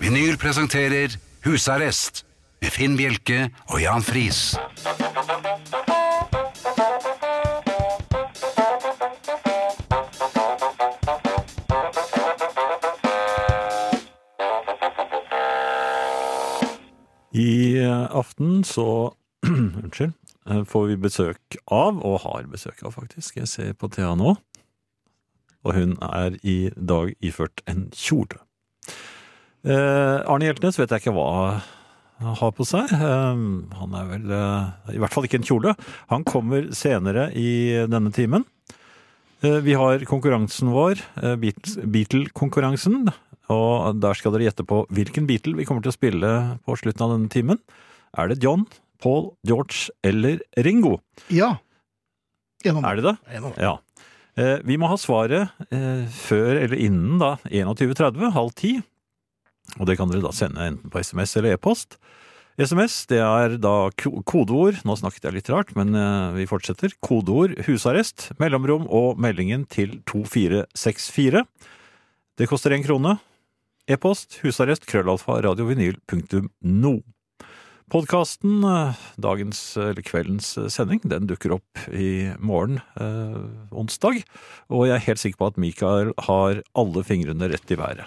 Vinyl presenterer Husarrest med Finn Bjelke og Jan Friis. I eh, aften så Unnskyld. eh, Får vi besøk av, og har besøk av faktisk, jeg ser på Thea nå. Og hun er i dag iført en kjole. Eh, Arne Hjeltnes vet jeg ikke hva han har på seg. Eh, han er vel eh, i hvert fall ikke en kjole. Han kommer senere i denne timen. Eh, vi har konkurransen vår, eh, Beatles- Beatle-konkurransen. Og der skal dere gjette på hvilken Beatle vi kommer til å spille på slutten av denne timen. Er det John, Paul, George eller Ringo? Ja. Gjennom. Er det det? Gjennom. Ja. Eh, Vi må ha svaret eh, før eller innen da 21.30, halv ti. Og det kan dere da sende enten på SMS eller e-post. SMS det er da ko- kodeord Nå snakket jeg litt rart, men eh, vi fortsetter. Kodeord 'husarrest', mellomrom og meldingen til 2464. Det koster én krone. E-post husarrest krøllalfa radiovinyl.no. Podkasten, eh, dagens eller kveldens eh, sending, den dukker opp i morgen, eh, onsdag. Og jeg er helt sikker på at Mikael har alle fingrene rett i været.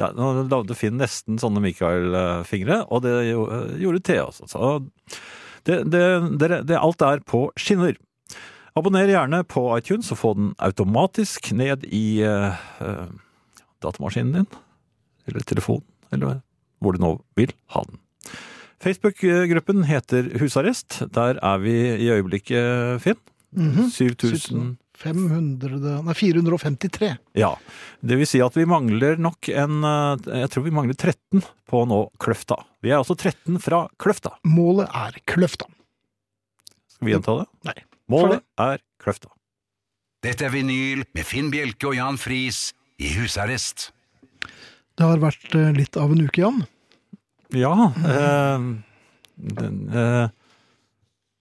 Ja, nå lagde Finn nesten sånne Mikael-fingre, og det jo- eh, gjorde Thea også. Så det, det, dere- det, alt er på skinner. Abonner gjerne på iTunes og få den automatisk ned i eh, eh, datamaskinen din, eller telefonen, eller hvor du nå vil ha den. Facebook-gruppen heter Husarrest. Der er vi i øyeblikket, Finn. Mhm. 7000 500, nei, 453. Ja. Det vil si at vi mangler nok en eh, Jeg tror vi mangler 13 på å nå Kløfta. Vi er altså 13 fra Kløfta. Målet er Kløfta. Skal vi gjenta det? Nei. Målet er Kløfta. Dette er vinyl med Finn Bjelke og Jan Friis i husarrest. Det har vært eh, litt av en uke, Jan. Ja eh, den, eh,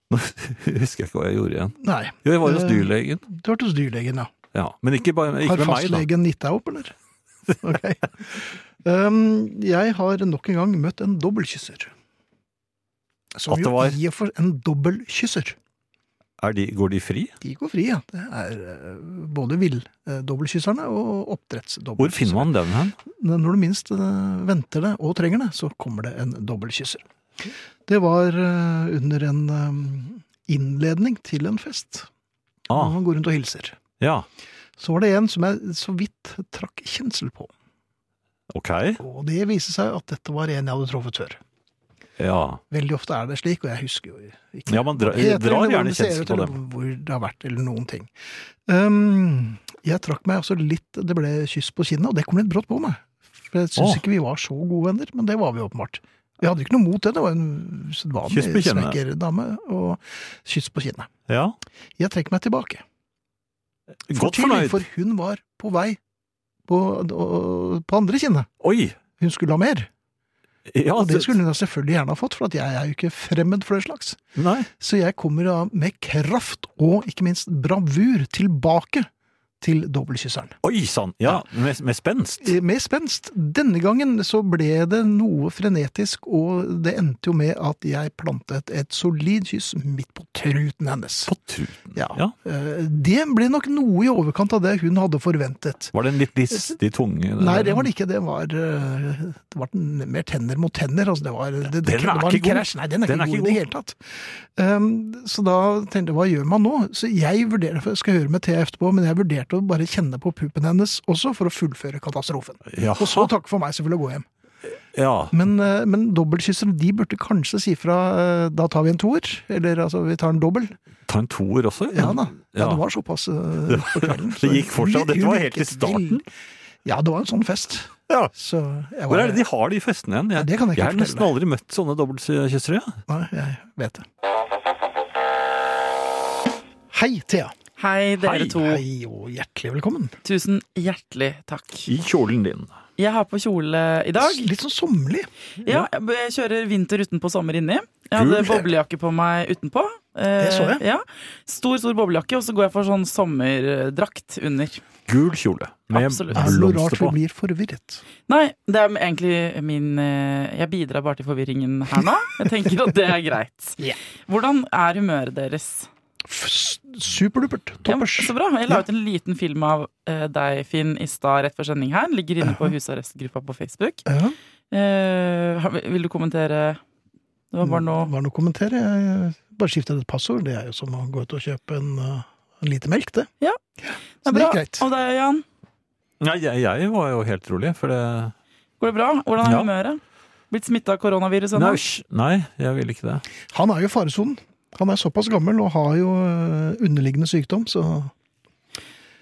Nå husker jeg ikke hva jeg gjorde igjen. Nei. Jo, jeg var hos Eh, dyrlegen. Du har vært hos dyrlegen, ja. Ja. Men ikke, bare, ikke med meg, har da. fastlegen gitt deg opp, eller? Ok. Um, jeg har nok en gang møtt en dobbeltkysser. Som At det jo var- i og for en dobbeltkysser. Er de, går de fri? De går fri, ja. Det er eh, både villdobbeltkysserne og oppdrettsdobbeltkysserne. Hvor finner man den hen? Når du minst eh, venter det og trenger det, så kommer det en dobbeltkysser. Det var eh, under en eh, innledning til en fest. Når Ah, man går rundt og hilser. ja. Så var det en som jeg så vidt trakk kjensel på. Ok. Og det viste seg at dette var en jeg hadde truffet før. Ja. Veldig ofte er det slik, og jeg husker jo ikke. Ja, man dra, drar Heter det, eller hvordan gjerne det ser kjensel ut, på eller dem. Hvor det har vært, eller noen ting. Ehm, jeg trakk meg også litt Det ble kyss på kinnet, og det kom litt brått på meg. For jeg syns Åh. ikke vi var så gode venner, men det var vi åpenbart. Vi hadde ikke noe mot det, det var en Kyss på sedvanlig kinnet. svekkerdame og kyss på kinnet. Ja. Jeg trekker meg tilbake. Godt Tydelig, fornøyd. For hun var på vei på, og- på andre kinnet. Oi! Hun skulle ha mer. Ja, Og det det- skulle hun da selvfølgelig gjerne ha fått, for at jeg er jo ikke fremmed for det slags. Nei. Så jeg kommer da med kraft og ikke minst bravur tilbake til dobbeltkysseren. Oi sann! Ja, med, med spenst. Eh, Med spenst. Denne gangen så ble det noe frenetisk, og det endte jo med at jeg plantet et solid kyss midt på truten hennes. På truten. Ja. Ja. Eh, Det ble nok noe i overkant av det hun hadde forventet. Var det en litt listig tunge? Nei, det var det ikke. Det var, eh, det var n- mer tenner mot tenner. Altså, det var, det, det, Den er det var en ikke god. krasj. Nei, den er ikke god i det hele tatt. Um, så da tenkte jeg, hva gjør man nå? Så jeg vurderte, for jeg skal høre med Thea etterpå, men jeg vurderte å bare kjenne på puppen hennes også for å fullføre katastrofen. Ja. Og så takk for meg, selvfølgelig, å gå hjem. Ja. Men, eh, men dobbeltkyssere, de burde kanskje si fra eh, da tar vi en toer, eller altså vi tar en dobbel. Ta en toer også? Ja da. Ja, Ja. det var såpass eh, på kvelden. Det gikk for seg, og dette var helt i starten. Ja, det var en sånn fest. Ja. Så jeg Hvor var- er det de har de festene igjen? Ja, det kan jeg ikke jeg har fortelle nesten aldri møtt sånne dobbeltkyssere. jeg. Nei, jeg vet det. Hei, Thea. Hei, dere Hei. to. Hei og hjertelig velkommen. Tusen hjertelig takk. I kjolen din. Jeg har på kjole i dag. Litt sånn sommerlig. Ja, jeg kjører vinter utenpå, sommer inni. Jeg hadde Kult. boblejakke på meg utenpå. Eh, så jeg. Ja. Stor, stor boblejakke, og så går jeg for sånn sommerdrakt under. Gul kjole med Absolutt. Er det noe blomster rart vi på. blir forvirret? Nei, det er egentlig min eh, Jeg bidrar bare til forvirringen her nå. Jeg tenker at det er greit. Ja. Hvordan er humøret deres? F- s- Superdupert. Ja, altså, men Toppers. så bra. Jeg la ut en liten film av eh, deg, Finn, i stad rett før sending her. Ligger inne på husarrestgruppa på Facebook. Ja. Eh, har- vil du kommentere? Det var bare noe Mm. Det var noe å kommentere. Jeg bare skiftet et passord. Det er jo som å gå ut og kjøpe en, uh, en lite melk, det. Ja. Så det bra. er greit. Og deg, Jan? Nei, jeg, jeg var jo helt rolig, for det Går det bra? Hvordan er Ja. humøret? Blitt smitta av koronavirus Nei, ennå? hysj. nei, jeg ville ikke det. Han er jo i faresonen. Han er såpass gammel og har jo uh, underliggende sykdom, så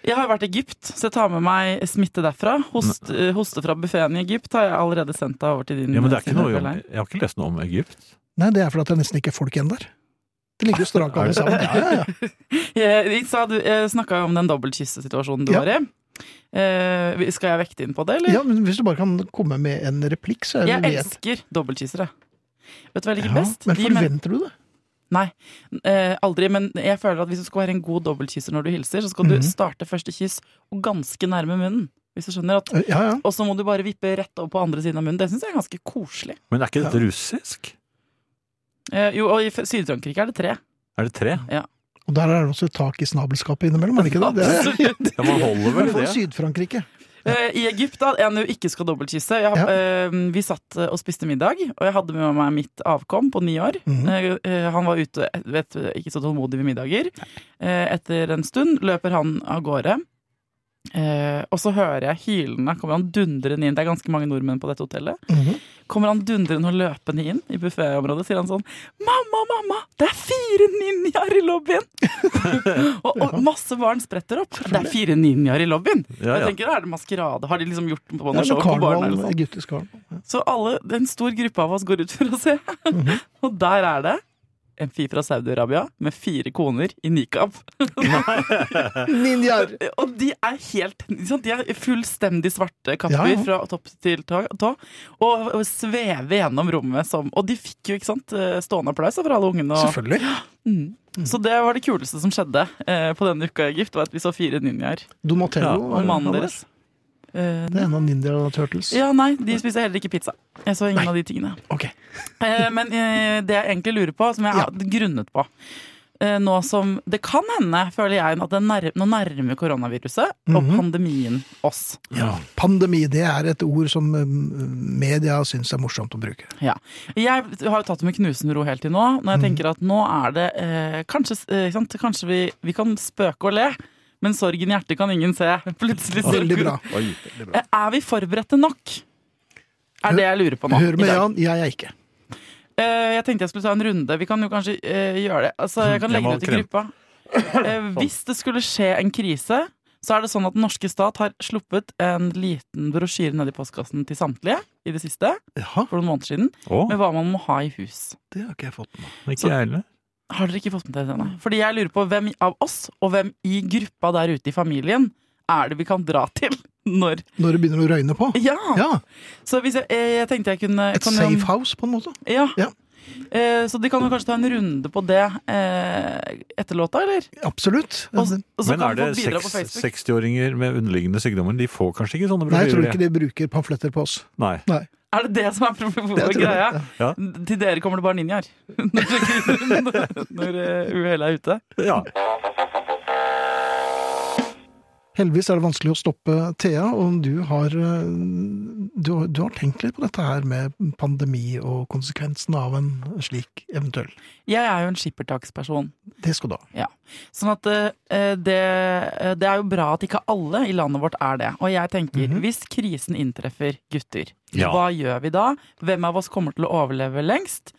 Jeg har vært i Egypt, så jeg tar med meg smitte derfra. Host, eh, hoste fra buffeen i Egypt har jeg allerede sendt deg over til din Ja, men det er ikke noe, om- Føler jeg. jeg har ikke lest noe om Egypt. Nei, det er fordi at det nesten ikke er folk igjen der. Det ligger jo strake alle sammen. Ja, ja, ja. Eh, Vi sa- du, eh, snakka jo om den dobbeltkyssesituasjonen du Ja. var i. Eh, skal jeg vekte inn på det, eller? ja, men Hvis du bare kan komme med en replikk, så er Jeg det elsker dobbeltkyssere. Vet du hva jeg liker Ja, best? men De men- forventer du det? Nei, eh, aldri. Men jeg føler at hvis du skal være en god dobbeltkysser når du hilser, så skal Mhm. du starte første kyss og ganske nærme munnen. Hvis du skjønner at Ja, ja. Og så må du bare vippe rett over på andre siden av munnen. Det syns jeg er ganske koselig. Men er ikke dette russisk? Eh, jo, og i F- Syd-Frankrike er det tre. Er det tre? Og der er det også tak i snabelskapet innimellom, er det ikke det? det er, Absolutt. Ja, man holder vel Men for det? Syd-Frankrike. Eh, I Egypt, da, en du ikke skal dobbeltkysse jeg, har- Ja. eh, Vi satt eh, og spiste middag, og jeg hadde med meg mitt avkom på ni år. Mhm. Eh, eh, han var ute, eh, vet, du, ikke så tålmodig med middager. Eh, etter en stund løper han av gårde. Eh, og så hører jeg hylende kommer han dundrende inn. Det er ganske mange nordmenn på dette hotellet. Mhm. Kommer han dundrende og løpende inn i bufféområdet, sier han sånn Mamma, mamma, det er fire ninjaer i lobbyen! og, og masse barn spretter opp. Det er fire ninjaer i lobbyen! Ja, Jeg ja. tenker, Er det maskerade? Har de liksom gjort på Det noe er show sånn på barn? karneval, Eller sånn? egyptisk karneval. Ja. Så alle, en stor gruppe av oss går ut for å se. Mhm. Og der er det en fyr fra Saudi-Arabia med fire koner i nikab. Ninjaer! Og de er helt ikke sant, De er fullstendig svarte kapper Ja, ja. fra topp til tå, tå og, og svever gjennom rommet som Og de fikk jo ikke sant, eh, stående applaus fra alle ungene. Og, Selvfølgelig. mm. Så det var det kuleste som skjedde eh, på denne uka i Egypt, var at vi så fire ninjaer Donatello. Ja, og er- mannen deres. Eh, Det er en av Ninja Turtles. Ja, nei, de spiser heller ikke pizza. Jeg så ingen av de tingene. Ok. Eh, men eh, det jeg egentlig lurer på, som jeg har grunnet på eh, Nå som det kan hende, føler jeg, at det nær, nå nærmer koronaviruset Mhm. og pandemien oss. Ja. Pandemi det er et ord som um, media syns er morsomt å bruke. Ja. Jeg har jo tatt det med knusende ro helt til nå. Når jeg Mhm. tenker at nå er det eh, Kanskje, eh, ikke sant? kanskje vi, vi kan spøke og le, men sorgen i hjertet kan ingen se. Plutselig så- Veldig bra. Oi. Eh, Er vi forberedte nok? Er det jeg lurer på nå. Hør i med dag. Jan, jeg er ikke. Eh, jeg tenkte jeg skulle ta en runde. Vi kan jo kanskje eh, gjøre det. Altså, jeg kan Jeg legge må det ut i gruppa. Eh, hvis det skulle skje en krise, så er det sånn at den norske stat har sluppet en liten brosjyre ned i postkassen til samtlige i det siste, Jaha, for noen måneder siden, Å, med hva man må ha i hus. det har ikke jeg fått med meg. ikke jeg heller. Har dere ikke fått med dere det? nei? Fordi jeg lurer på hvem av oss, og hvem i gruppa der ute i familien, er det vi kan dra til når Når det begynner å røyne på. Ja! Ja, Så hvis jeg, eh, jeg tenkte jeg kunne Et kan jo- safe house, på en måte. Ja. Ja. Eh, så de kan jo kanskje ta en runde på det eh, etter låta, eller? Absolutt. Og, og så Men kan er det folk bidra på seks- Facebook. 60-åringer med underliggende sykdommer? De får kanskje ikke sånne Nei, jeg tror ikke brosjyrer? de bruker pamfletter på oss. Nei. Er det det som er problemet? Jeg tror det. greia? Ja. Til dere kommer det bare ninjaer. når når eh, uhellet er ute. Ja. Heldigvis er det vanskelig å stoppe Thea, og du har, eh, du, har- du har tenkt litt på dette her med pandemi og konsekvensen av en slik eventuell. Jeg er jo en skippertaksperson. Det skal du ha. Sånn at eh, det, eh, det er jo bra at ikke alle i landet vårt er det. Og jeg tenker, Mhm. hvis krisen inntreffer gutter, Ja. hva gjør vi da? Hvem av oss kommer til å overleve lengst?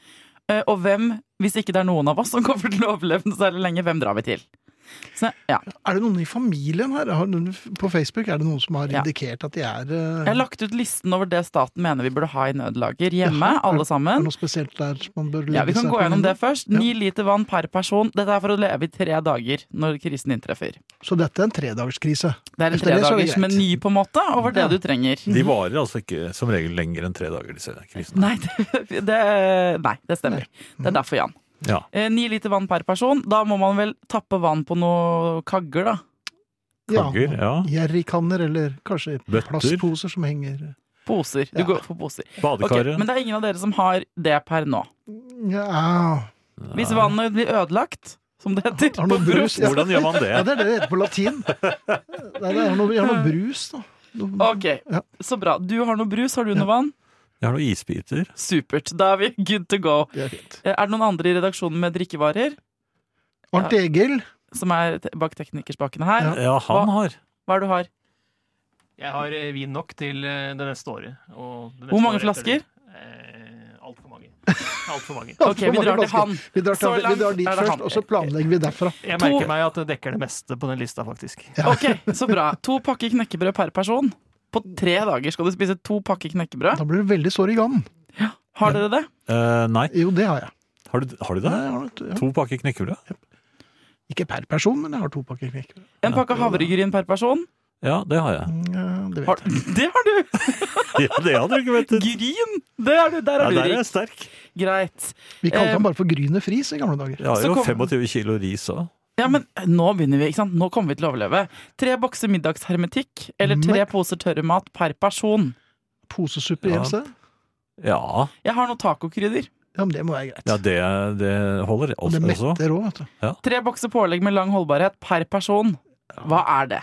Eh, og hvem, hvis ikke det er noen av oss som kommer til å overleve noe særlig lenge, hvem drar vi til? Så, ja. Er det noen i familien her? Har, noen- på Facebook er det noen som har Ja. indikert at de er Jeg eh, har lagt ut listen over det staten mener vi burde ha i nødlager hjemme, Jaha. alle Er det sammen. noe spesielt der man bør legge Ja, Vi kan seg gå på gjennom minnet? det først. Ni liter vann per person. Dette er for å leve i tre dager når krisen inntreffer. Så dette er en tredagerskrise. Det er en Etter det så er det tredagers meny på en måte over det Ja. du trenger. De varer altså ikke som regel lenger enn tre dager, disse krisene. Nei, det, det, nei, det stemmer. Det er derfor, Jan. Ja. Eh, Ni liter vann per person. Da må man vel tappe vann på noen kagger, da. Kagger, ja. Jerrykanner, eller kanskje Bøtter. plastposer som henger Poser. Du Ja. går for poser. Ok, Badekaret. men det er ingen av dere som har det per nå. Ja, Hvis Nei. vannet blir ødelagt, som det heter Har på noe brus brus, ja. Hvordan gjør man ja det? det er det det heter på latin. Nei, det er noe, jeg har noe brus, da. Noe, Ok, Ja. så bra. Du har noe brus, har du noe Ja. vann? Jeg har noen isbiter. Supert. Da er vi good to go. det er fint. Eh, Er det noen andre i redaksjonen med drikkevarer? Arnt Egil. Som er te- bak teknikerspakene her. Ja. Ja, han har. Hva er det du har? Jeg har eh, vin nok til eh, det neste året. Og det neste Hvor mange året etter flasker? det. Eh, Altfor mange. Altfor mange. Ok, vi drar til han. Vi drar, til, Så vi drar langt dit er det først, han. og så planlegger vi derfra. Jeg To- merker meg at det dekker det meste på den lista, faktisk. Ok, så bra. To pakker knekkebrød per person. På tre dager skal du spise to pakker knekkebrød. Da blir du veldig sår i gangen. Har dere det? Eh, nei, Jo, det har jeg. har du, har du Nei, det? jeg har nok- ja. To pakker knekkebrød? Ikke per person, men jeg har to pakker knekkebrød. En pakke havregryn per person. Ja, det har jeg. Mm, ja, Det vet Har, jeg. det har du! Ja, det hadde du ikke ventet. Gryn! Det er du, der Ja, er du der er rik. jeg sterk. Greit. Vi kalte Eh, han bare for Gryne Friis i gamle dager. Jeg har Så jo kom- 25 kilo ris òg. Ja, men eh, nå begynner vi, ikke sant? Nå kommer vi til å overleve. Tre bokser middagshermetikk, eller tre Men- Mm. poser tørrmat per person. Posesuppe i Ja. MC. Ja, Jeg har noen tacokrydder. Ja, men det må være greit. ja det, det holder Og også. også. det metter òg, vet du. Tre bokser pålegg med lang holdbarhet per person. Hva er det?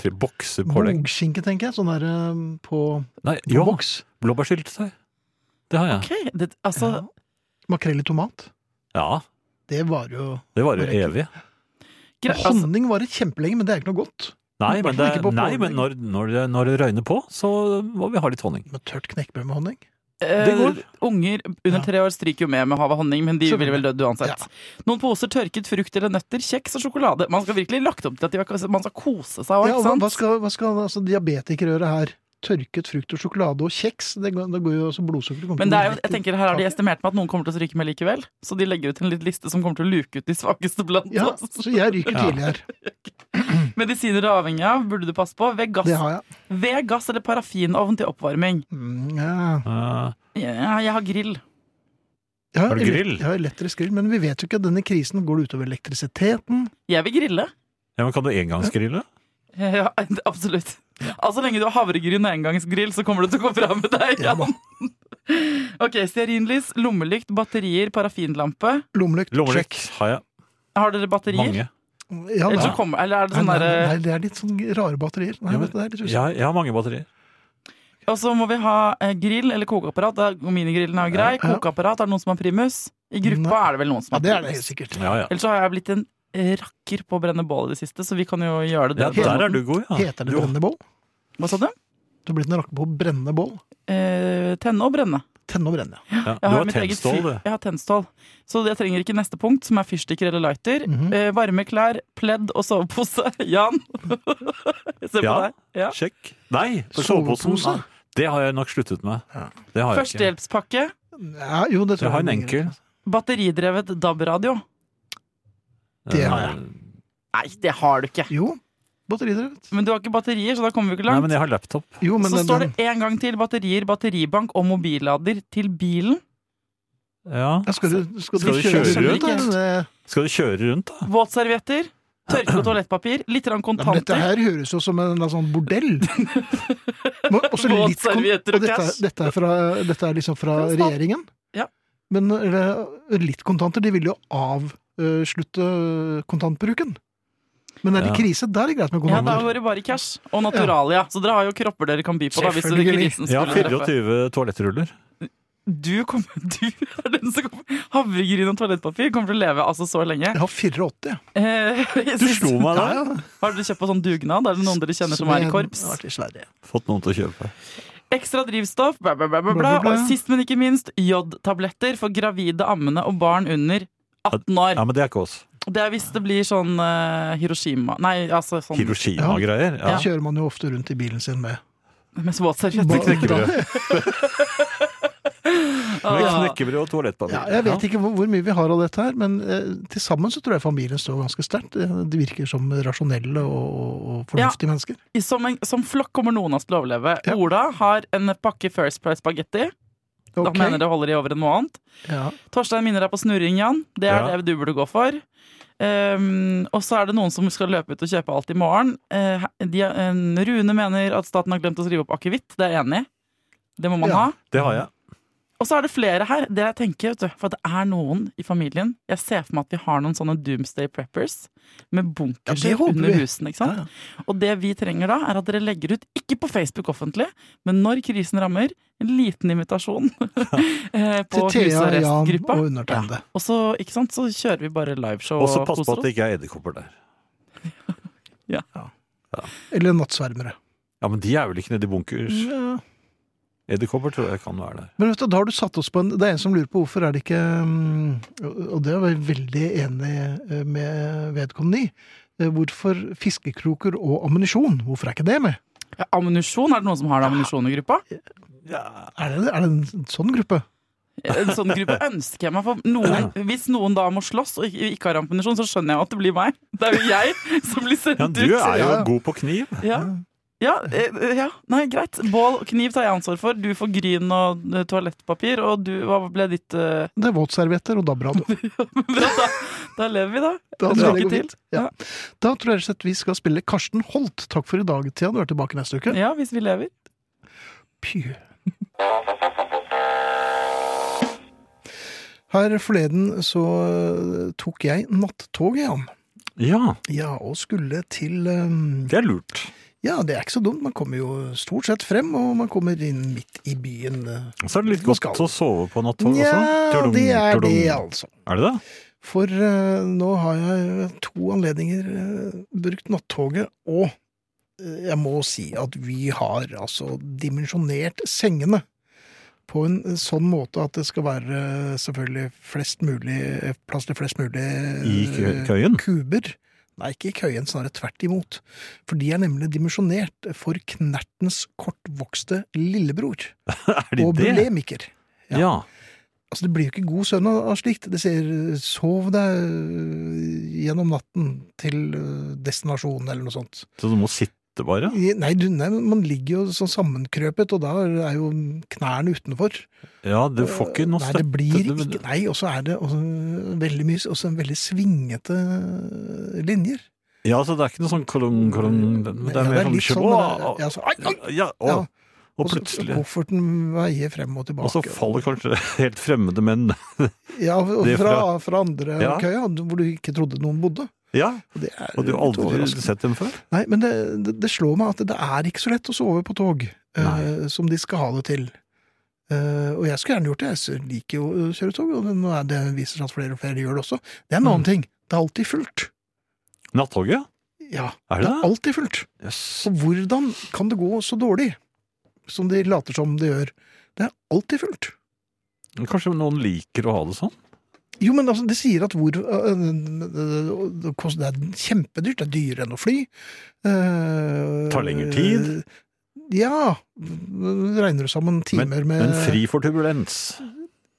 Tre bokser pålegg. Bogskinke, tenker jeg. Sånn der eh, på, Nei, på jo, boks. blåbærsyltetøy. Det har jeg. Ok, det, altså, Ja. Makrell i tomat. Ja, Det var jo det varer Det jo er evig. gre- altså Honning varer kjempelenge, men det er ikke noe godt. Nei, I hvert men, fall det, ikke på nei, pålegg. men når, når, det, når det røyner på, så må vi ha litt honning. Men tørt knekkebrød med honning? Det eh, går. unger under Ja. tre år stryker jo med med hav og honning, men de Selvfølgelig. ville vel dødd uansett. Noen poser tørket frukt eller nøtter, kjeks og sjokolade. Man skal virkelig lagt opp til at de, man skal kose seg òg, Ja, ikke hva, sant? hva skal, hva skal altså, diabetikere gjøre her? Tørket frukt og sjokolade og kjeks? Det går, det går jo også blodsukkeret kommer Men til det å er gå jo, rett jeg i tenker her har de taket. estimert med at noen kommer til å stryke med likevel. Så de legger ut en litt liste som kommer til å luke ut de svakeste blant ja, oss. så jeg ryker Ja. tidlig her. Medisiner du er avhengig av, burde du passe på. Ved Det gass, har jeg. ved gass eller parafinovn til oppvarming. Mm, ja. Eh, Ja, jeg har grill. Jeg Har du ele- grill? Jeg har elektrisk grill, men vi vet jo ikke at denne krisen går utover elektrisiteten. Jeg vil grille. ja, men kan du engangsgrille? Ja, absolutt. Altså, så lenge du har havregryn og engangsgrill, så kommer det til å gå bra med deg. Ja da. Jan. ok, Stearinlys, lommelykt, batterier, parafinlampe. Lommelykt, Lommelykt check. har jeg. Har dere Mange. batterier? Ja, Eller, nei. så kommer, eller er det Nei, sånn nei, nei, derre nei, det er litt sånn rare batterier. Nei, Ja, men- vet du, det er litt Jeg, usikkert. har- jeg har mange batterier. Og så må vi ha eh, grill eller kokeapparat. Da- Minigrillen er jo grei. Ja. Kokeapparat, er det noen som har primus? I gruppa Nei. er det vel noen Ja, som har det er det helt primus. sikkert. Ja, ja. Ellers så har jeg blitt en eh, rakker på å brenne bål i det siste, så vi kan jo gjøre det. ja på den der er måten. du god, ja. Heter det Jo, brennebål? Hva sa du? Du har blitt en rakker på å brenne bål. Eh, tenne og brenne. Tenne og brenne, ja. ja. Du Jeg har har mitt eget tennstål, fyr- du. Jeg har tennstål. Så jeg trenger ikke neste punkt, som er fyrstikker eller lighter. Mhm. eh, varme klær, pledd og sovepose. Jan! Jeg ser på Ja. deg. Ja. Sjekk. Nei, for Sovepose? soveposen. nei, Det har jeg nok sluttet med. Ja. Det har jeg ikke. Førstehjelpspakke, ja jo, det tror Jeg har en er enkel. greit. altså. batteridrevet DAB-radio. Det Eh, har jeg. Nei, det har du ikke! Jo, batteridrevet. Men du har ikke batterier, så da kommer vi ikke Nei, langt. men jeg har laptop. Jo, men så den, står den, det en gang til batterier, batteribank og mobillader til bilen. Ja. Ja, skal, du, skal, Skal du du kjøre, kjøre rundt? rundt? da? Skal du kjøre rundt, da? Våtservietter, tørke og toalettpapir, litt grann Nei, men dette kontanter. her høres jo som en eller annen sånn bordell. Men også litt kon- Våtservietter og dette, cash. dette, er fra, dette er liksom fra Fra staten. regjeringen. Ja. Men eller, litt kontanter, de vil jo avslutte eh, kontantbruken. Men er det Ja. krise, da er det greit med Ja, da kontanter. var det bare cash og naturalia. Så dere har jo kropper dere kan by på, da. Hvis det Selvfølgelig. krisen Jeg skulle har treffe. 24 toalettruller. du kommer Du er den som kommer Havregryn og toalettpapir kommer til å leve altså så lenge. Jeg har 84. ja. Eh, jeg Du synes- slo meg Ja, der! ja. Har dere kjøpt på sånn dugnad? Er det noen dere kjenner som er i Som korps? har vært i Sverige. Fått noen til å kjøpe. Ekstra drivstoff, bla, bla, bla, Bla, bla, bla, bla. bla. Og sist, men ikke minst, jodtabletter for gravide, ammende og barn under 18 år. Ja, men det er ikke oss. Det er hvis det blir sånn eh, Hiroshima Nei, altså sånn Hiroshima-greier. Da Ja. kjører man jo ofte rundt i bilen sin med med våtservietter. Knekkebrød. Med Ah. knekkebrød og toalettpapir. Ja, jeg vet Ja. ikke hvor, hvor mye vi har av dette her, men eh, til sammen så tror jeg familien står ganske sterkt. Eh, De virker som rasjonelle og, og- og fornuftige mennesker. Som, en, som flokk kommer noen av oss til å overleve. Ja. Ola har en pakke First Price spagetti. Da Ok. mener jeg det holder i over en måned. Ja. Torstein minner deg på snurring, Jan. Det er Ja. det du burde gå for. Ehm, og så er det noen som skal løpe ut og kjøpe alt i morgen. Eh, de, eh, Rune mener at staten har glemt å skrive opp akevitt. Det er jeg enig i. Det må man Ja. ha. Det har jeg. Og så er det flere her. Det jeg tenker, vet du, for at det er noen i familien Jeg ser for meg at vi har noen sånne Doomsday Preppers med bunkers Ja, det håper under vi. husene. ikke Ja, sant? ja. Og det vi trenger da, er at dere legger ut, ikke på Facebook offentlig, men når krisen rammer, en liten invitasjon eh, Til på Hus Thea, og Jan Rest-gruppa. og undertegnede. Og så, ikke sant, så kjører vi bare liveshow Og så og pass på koser at det oss. ikke er edderkopper der. Eller nattsvermere. Ja, men de er vel ikke nede i bunkers? Ja. Edderkopper tror jeg kan være der. Men vet du, da har du satt oss på en Det er en som lurer på hvorfor er det ikke mm, Og det var jeg veldig enig eh, med vedkommende i. Eh, Hvorfor fiskekroker og ammunisjon? Hvorfor er ikke det med? Ja, ammunisjon, er det noen som har ammunisjon i gruppa? Er det, er det en sånn gruppe? En sånn gruppe ønsker jeg meg for noen. Hvis noen da må slåss og ikke, ikke har ammunisjon, så skjønner jeg jo at det blir meg. Det er jo jeg som blir sendt Ja, ut. du er jo ja. god på kniv. Ja. Ja, eh, ja, nei, greit. Bål og kniv tar jeg ansvar for. Du får gryn og eh, toalettpapir. Og du, hva ble ditt eh, Det er våtservietter og DAB-radio. Bra, da, da lever vi, da. Da, Lykke tror jeg det går til. fint. Ja. da tror jeg rett og slett vi skal spille Karsten Holt. Takk for i dag, Thea. Du er tilbake neste uke. Ja, hvis vi lever. Pju. Her forleden så eh, tok jeg nattoget, Jan. Ja, Ja, og skulle til eh, det er lurt. Ja, det er ikke så dumt. Man kommer jo stort sett frem, og man kommer inn midt i byen. eh. Så er det litt Hva skal godt å sove på nattog også. Nja, Sånn, altså. Tudum, det er tudum. det, altså. Er det det? For eh, nå har jeg ved to anledninger eh, brukt nattoget, og eh, jeg må si at vi har altså dimensjonert sengene på en sånn måte at det skal være eh, selvfølgelig flest mulig, eh, plass til flest mulig I kø- eh, køyen? kuber. Nei, ikke i køyen, snarere tvert imot. For de er nemlig dimensjonert for knertens kortvokste lillebror Er de og det? bulemiker. ja. Ja. Altså, det blir jo ikke god søvn av av slikt. Det sier øh, 'sov deg øh, gjennom natten til øh, destinasjonen', eller noe sånt. Så du må sitte bare? I- Nei, du, nei, men man ligger jo sånn sammenkrøpet, og da er jo knærne utenfor. Ja, du får ikke noe Nei, støtte. det blir du- ikke Nei, og så er det også veldig mye Også en veldig svingete øh, linjer. Ja, så det er ikke noe sånn kolong, kolong Det Ja, det er mer sånn litt sånn der, skjønn. ja, så, ai, ai, Ja, ja. og, og Og så- plutselig Kofferten veier frem og tilbake. Og så faller kanskje helt fremmede menn ja, og det fra, fra- fra andre Ja. køya, hvor du ikke trodde noen bodde. Ja, Og det er og du har litt aldri overraskende. sett dem før? Nei, men det, det, det slår meg at det er ikke så lett å sove på tog eh, Nei. som de skal ha det til. Eh, og jeg skulle gjerne gjort det, jeg liker jo å kjøre tog, og det, nå er det viser seg at flere og flere gjør det også. Det er en annen ting. Det er alltid fullt. Nattoget? Ja, Er det det er det? alltid fullt. Jøss. Så hvordan kan det gå så dårlig som de later som de gjør? Det er alltid fullt. Men Kanskje noen liker å ha det sånn? Jo, men altså, det sier at hvor øh, øh, det kost- Det er kjempedyrt. Det er dyrere enn å fly. Eh, Tar lengre tid. Ja. Regner du sammen timer med Men fri for turbulens.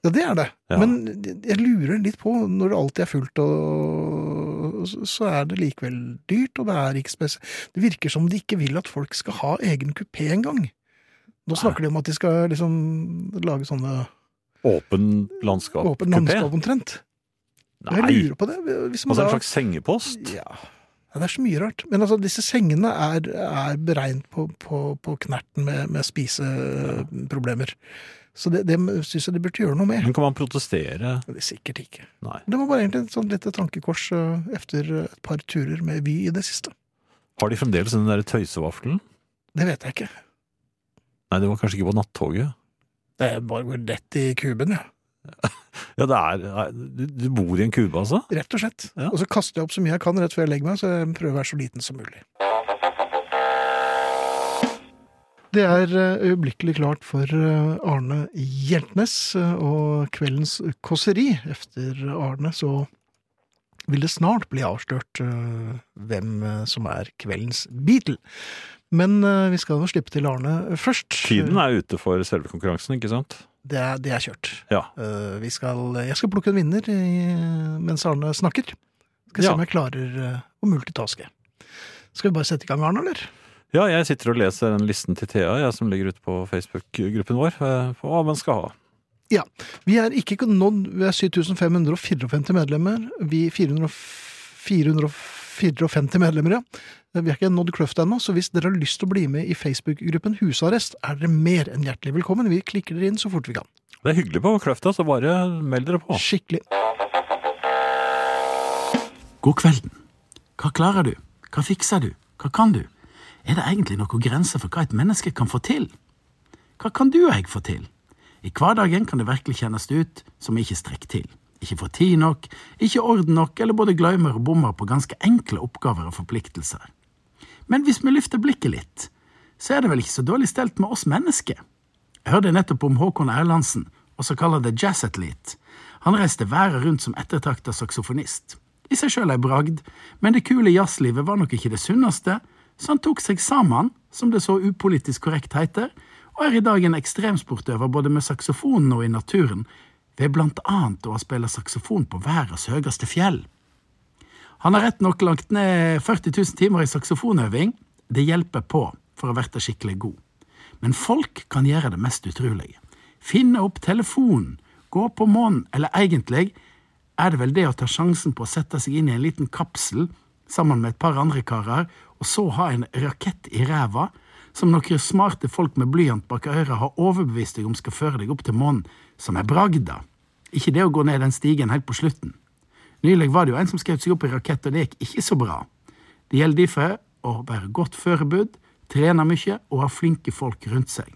Ja, det er det. Ja. Men jeg lurer litt på, når det alltid er fullt, og så- så er det likevel dyrt, og det er ikke spesielt Det virker som de ikke vil at folk skal ha egen kupé engang. Nå snakker de om at de skal liksom lage sånne Åpen landskap. åpen kupé. landskap omtrent. Og Jeg Nei! lurer på det. Hvis man Altså en da- slags sengepost? Ja. ja, det er så mye rart. Men altså, disse sengene er, er beregnet på, på, på knerten med, med spiseproblemer. Så det, det syns jeg de burde gjøre noe med. Men kan man protestere? Men det er Sikkert ikke. Nei. Det var bare egentlig et sånt lite tankekors eh, etter et par turer med Vy i det siste. Har de fremdeles den derre tøysevaffelen? Det vet jeg ikke. Nei, det var kanskje ikke på nattoget. Det er bare går rett i kuben, ja. Ja, det er nei, Du du bor i en kube, altså? Rett og slett. Ja. Og så kaster jeg opp så mye jeg kan rett før jeg legger meg, så jeg prøver å være så liten som mulig. Det er eh, øyeblikkelig klart for eh, Arne Hjeltnes eh, og kveldens kåseri. Efter Arne så vil det snart bli avslørt eh, hvem eh, som er kveldens Beatle. Men eh, vi skal jo slippe til Arne først. Tiden er ute for selve konkurransen, ikke sant? Det er, det er kjørt. Ja. Eh, vi skal, jeg skal plukke en vinner i, mens Arne snakker. Skal se Ja. om jeg klarer eh, å multitaske. Skal vi bare sette i gang, Arne, eller? Ja, jeg sitter og leser den listen til Thea, jeg som ligger ute på Facebook-gruppen vår, eh, på hva man skal ha. Vi er ikke nådd Vi er 7554 medlemmer. Vi 400 454 medlemmer, ja. Vi har ikke nådd kløfta ennå, så hvis dere har lyst til å bli med i Facebook-gruppen Husarrest, er dere mer enn hjertelig velkommen. Vi klikker dere inn så fort vi kan. Det er hyggelig på Kløfta, så bare meld dere på. Skikkelig. God kvelden. Hva klarer du? Hva fikser du? Hva kan du? Er det egentlig noen grenser for hva et menneske kan få til? Hva kan du og jeg få til? I hverdagen kan det virkelig kjennes ut som vi ikke strekker til. Ikke får tid nok, ikke orden nok, eller både glemmer og bommer på ganske enkle oppgaver og forpliktelser. Men hvis vi løfter blikket litt, så er det vel ikke så dårlig stelt med oss mennesker? Jeg hørte nettopp om Håkon Erlandsen, også kalt The Jazz Athlete. Han reiste verden rundt som ettertrakta saksofonist. I seg sjøl ei bragd, men det kule jazzlivet var nok ikke det sunneste, så han tok seg sammen, som det så upolitisk korrekt heter, og er i dag en ekstremsportøver både med saksofonen og i naturen, ved blant annet å ha spilt saksofon på verdens høyeste fjell. Han har rett nok lagt ned 40 000 timer i saksofonøving. Det hjelper på for å bli skikkelig god. Men folk kan gjøre det mest utrolige. Finne opp telefonen, gå på månen, eller egentlig er det vel det å ta sjansen på å sette seg inn i en liten kapsel sammen med et par andre karer, og så ha en rakett i ræva, som noen smarte folk med blyant bak øret har overbevist deg om skal føre deg opp til månen, som er bragda. Ikke det å gå ned den stigen helt på slutten. Nylig var det jo en som skjøt seg opp i rakett, og det gikk ikke så bra. Det gjelder derfor å være godt forberedt, trene mye og ha flinke folk rundt seg.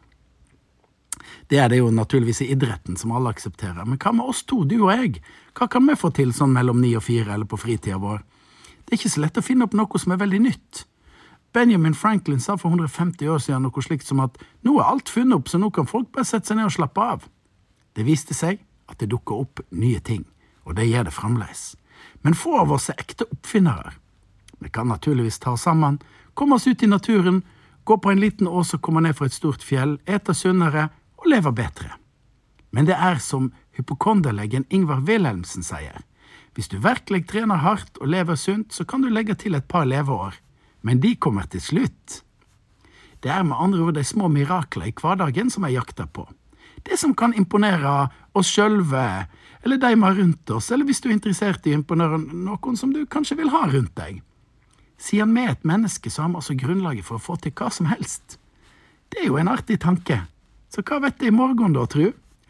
Det er det jo naturligvis i idretten som alle aksepterer, men hva med oss to, du og jeg? Hva kan vi få til sånn mellom ni og fire eller på fritida vår? Det er ikke så lett å finne opp noe som er veldig nytt. Benjamin Franklin sa for 150 år siden noe slikt som at nå er alt funnet opp, så nå kan folk bare sette seg ned og slappe av. Det viste seg at det dukker opp nye ting, og det gjør det fremdeles. Men få av oss er ekte oppfinnere. Vi kan naturligvis ta oss sammen, komme oss ut i naturen, gå på en liten ås og komme ned fra et stort fjell, ete sunnere og leve bedre. Men det er som hypokonderlegen Ingvar Wilhelmsen sier. Hvis du virkelig trener hardt og lever sunt, så kan du legge til et par leveår. Men de kommer til slutt. Det er med andre ord de små mirakler i hverdagen som jeg jakter på. Det som kan imponere oss sjølve, eller de vi har rundt oss, eller hvis du er interessert i å imponere noen som du kanskje vil ha rundt deg. Siden vi er et menneske, så har vi altså grunnlaget for å få til hva som helst. Det er jo en artig tanke. Så hva vet jeg i morgen, da, tru?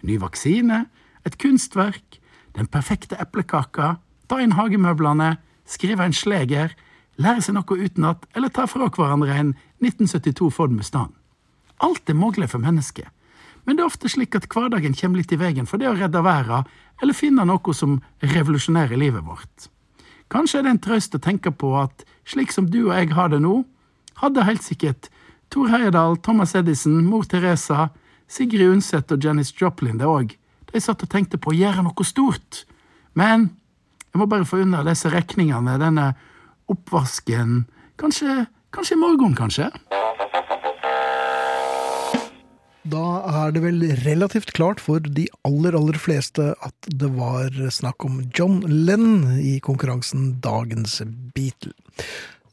Ny vaksine? Et kunstverk? Den perfekte eplekaka? Ta inn hagemøblene? Skrive en sleger? Lære seg noe utenat? Eller ta fra hverandre en 1972 Ford Mustang? Alt er mulig for mennesket, men det er ofte slik at hverdagen kommer litt i veien for det å redde verden, eller finne noe som revolusjonerer livet vårt. Kanskje er det en trøst å tenke på at slik som du og jeg har det nå, hadde helt sikkert Tor Heyerdahl, Thomas Edison, mor Teresa, Sigrid Undset og Janis Joplin det òg. De satt og tenkte på å gjøre noe stort. Men jeg må bare få unna disse regningene, denne oppvasken. Kanskje, kanskje i morgen, kanskje? Da er det vel relativt klart for de aller, aller fleste at det var snakk om John Lennon i konkurransen Dagens Beatle.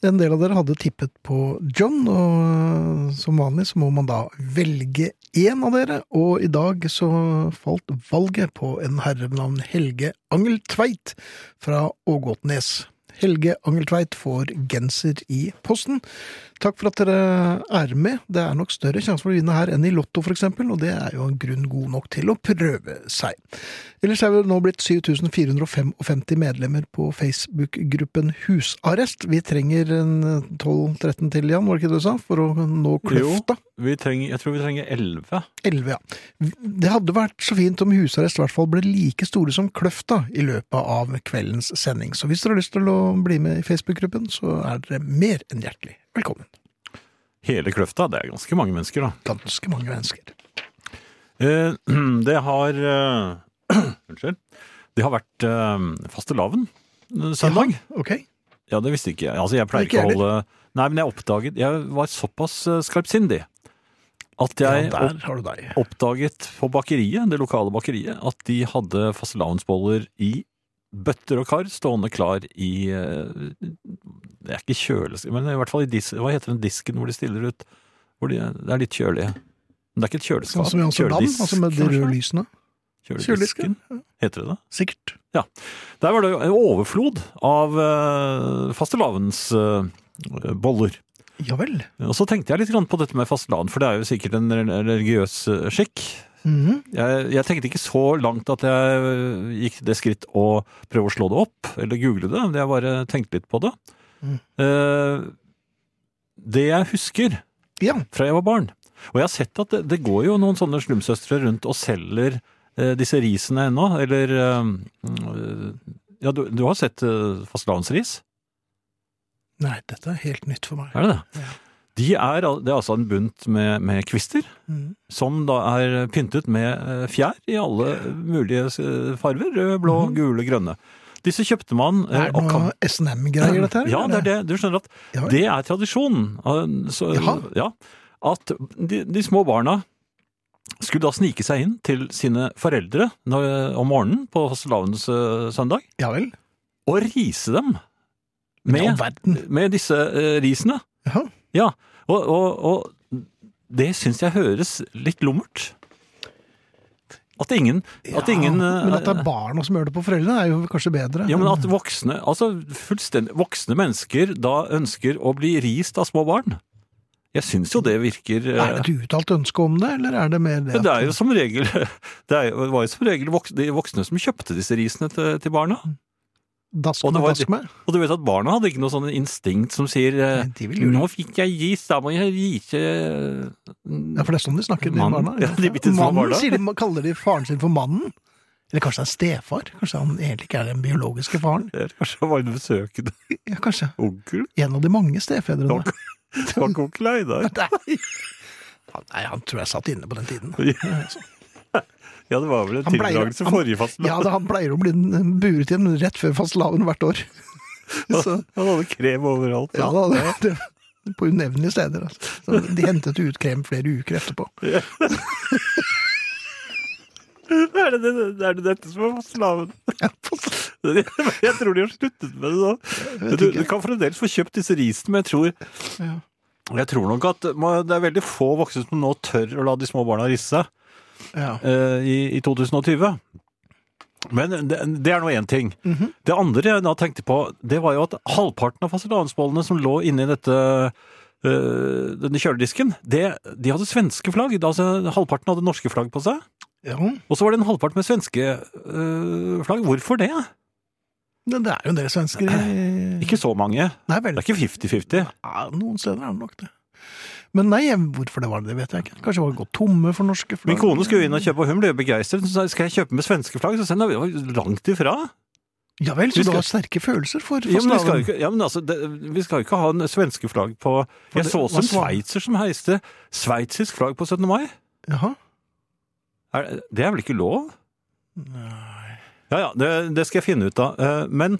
En del av dere hadde tippet på John, og som vanlig så må man da velge én av dere, og i dag så falt valget på en herre ved navn Helge Angeltveit fra Ågotnes. Helge Angeltveit får genser i posten. Takk for at dere er med. Det er nok større sjanse for å vinne her enn i Lotto, f.eks., og det er jo en grunn god nok til å prøve seg. Ellers er vi nå blitt 7455 medlemmer på Facebook-gruppen Husarrest. Vi trenger en 12-13 til, Jan, var det ikke det du sa, for å nå kløfta? Vi trenger, jeg tror vi trenger elleve. 11, ja. Det hadde vært så fint om husarrest i hvert fall ble like store som Kløfta i løpet av kveldens sending. Så hvis dere har lyst til å bli med i Facebook-gruppen, så er dere mer enn hjertelig velkommen. Hele Kløfta, det er ganske mange mennesker, da. Ganske mange mennesker. Eh, Det har eh, Unnskyld. Det har vært eh, fastelavn eh, søndag. Ok. Ja, det visste ikke jeg. Altså, jeg pleier Ikke ikke å jeg holde Nei, men jeg oppdaget Jeg var såpass eh, skarpsindig at jeg ja, der har du deg. opp- oppdaget på bakeriet, det lokale bakeriet, at de hadde fastelavnsboller i bøtter og kar stående klar i eh, Det er ikke kjøleskap, men i hvert fall i dis, hva heter den disken hvor de stiller ut hvor de, Det er litt kjølig. Men det er ikke et kjøleskap. Sånn som i Amsterdam, kjøledisk, altså med de kanskje? røde lysene. Kjøledisken, heter det det? Sikkert. Der var det jo en overflod av uh, fastelavnsboller. Ja vel. og så tenkte jeg litt grann på dette med fastelavn, for det er jo sikkert en re- religiøs eh, skikk. Mhm. Jeg, jeg tenkte ikke så langt at jeg eh, gikk til det skritt å prøve å slå det opp, eller google det. men Jeg bare tenkte litt på det. Mm. Eh, det jeg husker Ja. fra jeg var barn. Og jeg har sett at det, det går jo noen sånne slumsøstre rundt og selger eh, disse risene ennå, eller eh, mm, eh, Ja, du, du har sett eh, fastelavnsris? Nei, dette er helt nytt for meg. Er det det? Ja. De er, al- det er altså en bunt med, med kvister, Mhm. som da er pyntet med eh, fjær i alle mulige eh, farver. Rød, blå, gule, grønne. Disse kjøpte man eh, Mhm. Er det og noe kan- SNM-greier, dette her? Ja, det er det. Du skjønner at Ja, Det er tradisjonen. eh, Så, Jaha. ja, at de, de små barna skulle da snike seg inn til sine foreldre når, om morgenen på fastelavnens eh, søndag, ja vel. og rise dem Med all med, verden. med disse eh, risene. Jaha. Ja, og, og, og det syns jeg høres litt lummert. At ingen, at Ja, ingen eh, Men at det er barna som gjør det på foreldrene, er jo kanskje bedre. ja, men at voksne, altså fullstendig voksne mennesker da ønsker å bli rist av små barn. Jeg syns jo det virker eh, Er det et uttalt ønske om det, eller er det mer det? men det er jo som regel det, er, jo- det var jo som regel voksne, de voksne som kjøpte disse risene til, til barna. Dask Og det med, var- dask med. Og du vet at barna hadde ikke noe sånn instinkt som sier eh, Nei, de vil lure. Nå fikk jeg ris, da må jeg rike Ja, for det er sånn de snakker, de Mannen. barna. Ja, de bitte små mannen, barna. Sier de, kaller de faren sin for mannen? Eller kanskje det er stefar? Kanskje han egentlig ikke er den biologiske faren? Eller kanskje det var en besøkende Ja, kanskje. onkel? En av de mange stefedrene. Takk. Det var ikke onkel Einar. Nei. Han- Nei, han tror jeg satt inne på den tiden. altså. Ja, det var vel en Han pleier- tildragelse han- forrige fastelavn. Ja, da, han pleier å bli den- buret igjen rett før fastelavn hvert år. Så, Han hadde krem overalt. ja da, det, det, på unevnelige steder. Altså. Så de hentet ut krem flere uker etterpå. Er det, er det dette som er fastelavn? Jeg tror de har sluttet med det nå. Du, du kan fremdeles få kjøpt disse risene, men jeg tror, Ja. jeg tror nok at må- det er veldig få voksne som nå tør å la de små barna risse seg Ja. eh, i, i 2020. Men det, det er nå én ting. Mhm. Det andre jeg da tenkte på, det var jo at halvparten av fastelavnsbollene som lå inni dette eh, denne kjøledisken, det, de hadde svenske flagg. Altså, halvparten hadde norske flagg på seg. ja. Og så var det en halvpart med svenske øh, flagg. Hvorfor det? Men det er jo en del svensker i Ikke så mange. Nei Det vel. er ikke 50-50. Ja, noen steder er det nok det. Men nei, jeg- hvorfor det var det, det vet jeg ikke. Kanskje det var gått tomme for norske flagg. Min kone skulle inn og kjøpe, og hun ble jo begeistret. Så sa jeg skal jeg kjøpe med svenske flagg? Så sa jeg, «Nei, det var langt ifra. Ja vel, så Vi du skal- har sterke følelser for Ja, men vi skal jo fastelavn. ikke, ja, men altså, det, vi skal jo ikke ha en svenske flagg på Jeg det- så også hva en svar- sveitser som heiste sveitsisk flagg på 17. mai. Jaha. Er, det er vel ikke lov? Nei. Ja, ja, det, det skal jeg finne ut av. Eh, Men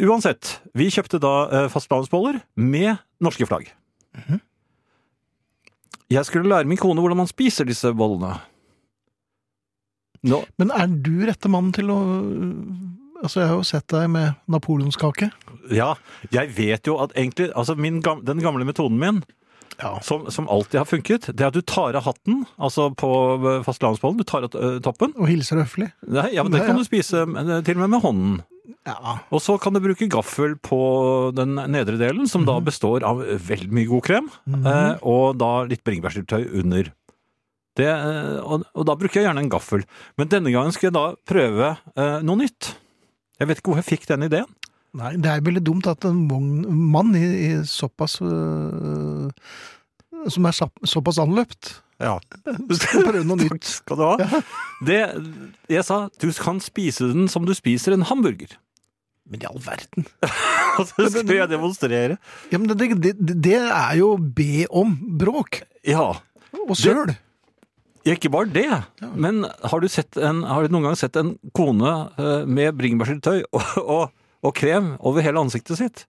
uansett, vi kjøpte da eh, fastelavnsboller med norske flagg. Jeg skulle lære min kone hvordan man spiser disse bollene. Nå, Men er du rette mannen til å Altså, jeg har jo sett deg med napoleonskake. ja, jeg vet jo at egentlig altså min, gam- Den gamle metoden min, Ja. som, som alltid har funket, det er at du tar av hatten altså på eh, fastelavnsbollen. Du tar av eh, toppen. Og hilser høflig. Nei, ja, men Den Nei, kan ja. du spise eh, til og med med hånden. Ja. Og så kan du bruke gaffel på den nedre delen, som Mhm. da består av veldig mye god krem, eh, og da litt bringebærsyltetøy under. Det, eh, og, og da bruker jeg gjerne en gaffel. Men denne gangen skal jeg da prøve eh, noe nytt. Jeg vet ikke hvor jeg fikk den ideen. Nei, det er veldig dumt at en vogn, mann i, i såpass øh, Som er sapp- såpass anløpt, Ja. skal prøve noe nytt. Skal du ha? Det, jeg sa du kan spise den som du spiser en hamburger. Men i all verden. Og så skulle jeg demonstrere. Ja, men det, det, det- det er jo å be om bråk Ja. og søl. Ikke bare det, men har du, sett en, har du noen gang sett en kone eh, med bringebærsyltetøy og, og, og krem over hele ansiktet sitt?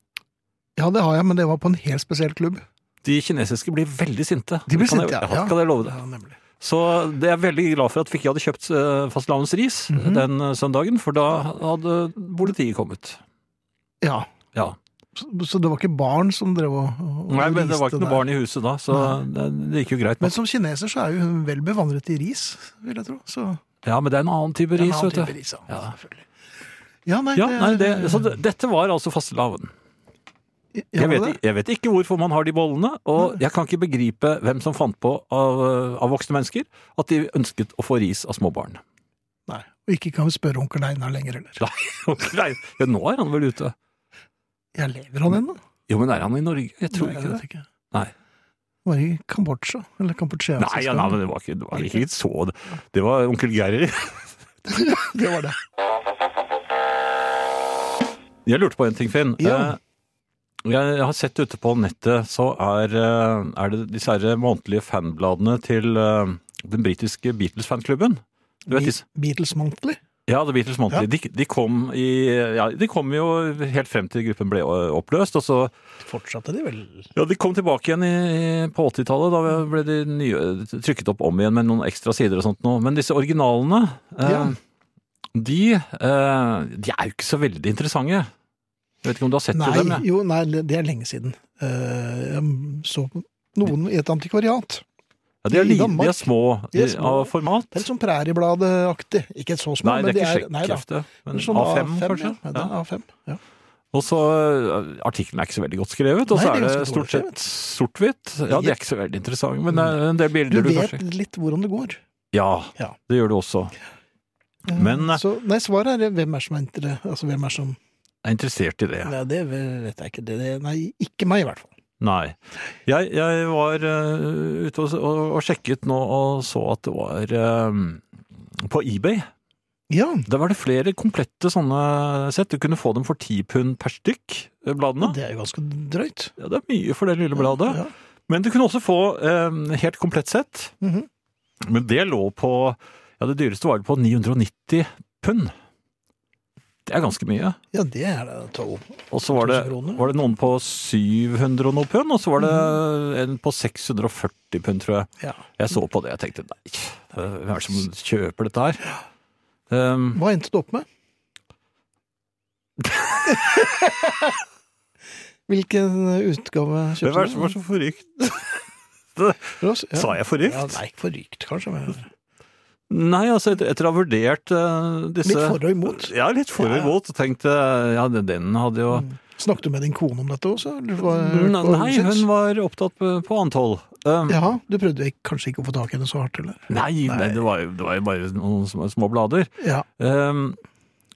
Ja, det har jeg, men det var på en helt spesiell klubb. De kinesiske blir veldig sinte. De blir Kan sinte, jeg, ja. Kan jeg love det. Ja, nemlig. Så det er jeg veldig glad for at vi ikke hadde kjøpt eh, fastelavnsris Mhm. den eh, søndagen, for da hadde politiet kommet. Ja, Ja. så, så det var ikke barn som drev og, og Nei, men det var riste ikke noe der. barn i huset da, så det, det gikk jo greit. Men som kineser så er jo hun vel bevandret i ris, vil jeg tro. Så Ja, men det er en annen type En ris, annen vet type du. ris, ja. Ja. selvfølgelig. Ja, nei, Ja, nei, det, så det, dette var altså fastelavn. Ja, Jeg det- vet, ikke- jeg vet ikke hvorfor man har de bollene, og jeg kan ikke begripe hvem som fant på av, eh, av voksne mennesker at de ønsket å få ris av små barn. Nei. Og ikke kan vi spørre onkel Einar lenger heller. Nei, ok, nei. Ja, nå er han vel ute. Jeg lever han ennå? Jo, men er han i Norge? Jeg tror Nei, ikke jeg det. vet ikke. Nei. Var i Kambodsja, eller Kambodsja. Nei, ja, nei, men det var ikke, det var ikke så det. Det var onkel Geir. det var det. Jeg lurte på en ting, Finn. Ja. Eh, Jeg har sett ute på nettet, så er, eh, er det disse her månedlige fanbladene til eh, den britiske Beatles-fanklubben. Du vet disse? Be- Beatles Monthly. Ja, The Beatles Monthly. De, de, kom i, ja, de kom jo helt frem til gruppen ble eh, oppløst, og så Fortsatte de vel? Ja, de kom tilbake igjen i, i- på 80-tallet. Da ble de nye, trykket opp om igjen med noen ekstra sider og sånt nå. Men disse originalene, eh, Ja. de, eh, de er jo ikke så veldig interessante. Jeg vet ikke om du har sett Nei, til dem? jeg. jo, nei, det er lenge siden. Eh, jeg så noen i et antikvariat. Ja, de, er i li, Danmark. de er små, De er de- små. av format. Det er litt sånn Præriebladet-aktig. Ikke så små, Nei, det men er de ikke er nei da. sjekkhefte, men Men sånn A5, kanskje? Ja. Ja. Ja, A5, ja. Og så eh, Artikkelen er ikke så veldig godt skrevet, og Nei, så det er er det ganske dårlig Mm. stort sett sort-hvitt. Ja, de er ikke så veldig interessante, men det er en del Du bilder du, vet kanskje litt hvordan det går. Ja, Ja. det gjør du også. Eh, Men- så, nei, svaret er eh, hvem er som er inter- altså, hvem er som Jeg er interessert i det. Nei, det vet jeg ikke. Det, det, nei, ikke meg, i hvert fall. Nei. Jeg, jeg var eh, ute og, og, og sjekket nå og så at det var eh, På eBay Ja, der var det flere komplette sånne sett. Du kunne få dem for ti pund per stykk, eh, bladene. det er jo ganske drøyt. Ja, det er mye for det lille bladet. Ja. Men du kunne også få eh, helt komplett sett. Mhm. Men det lå på Ja, det dyreste var det på 990 pund. Det er ganske mye. ja, det er det. Tolv. Og så var det, 1000 kroner. var det noen på 700 og noe pund, og så var det Mhm. en på 640 pund, tror jeg. Ja. Jeg så på det og tenkte nei, hvem er det som kjøper dette her? Um, Hva endte du opp med? Hvilken utgave hvem er kjøpte det du? som var så forrykt? Ross? Ja. Sa jeg forrykt? Ja, nei, forrykt kanskje. Men... Nei, altså etter, etter å ha vurdert eh, disse Litt for og imot. Ja, litt for og Ja, Mm. ja. imot. og Tenkte ja, den- den hadde jo Snakket du med din kone om dette også? eller hva- Nei, hva hun syns? hun var opptatt på på annet hold. Um, Jaha, du prøvde ikke- kanskje ikke å få tak i henne så hardt, eller? Nei, nei det, var jo, det var jo bare noen små, små blader. Ja. Ehm,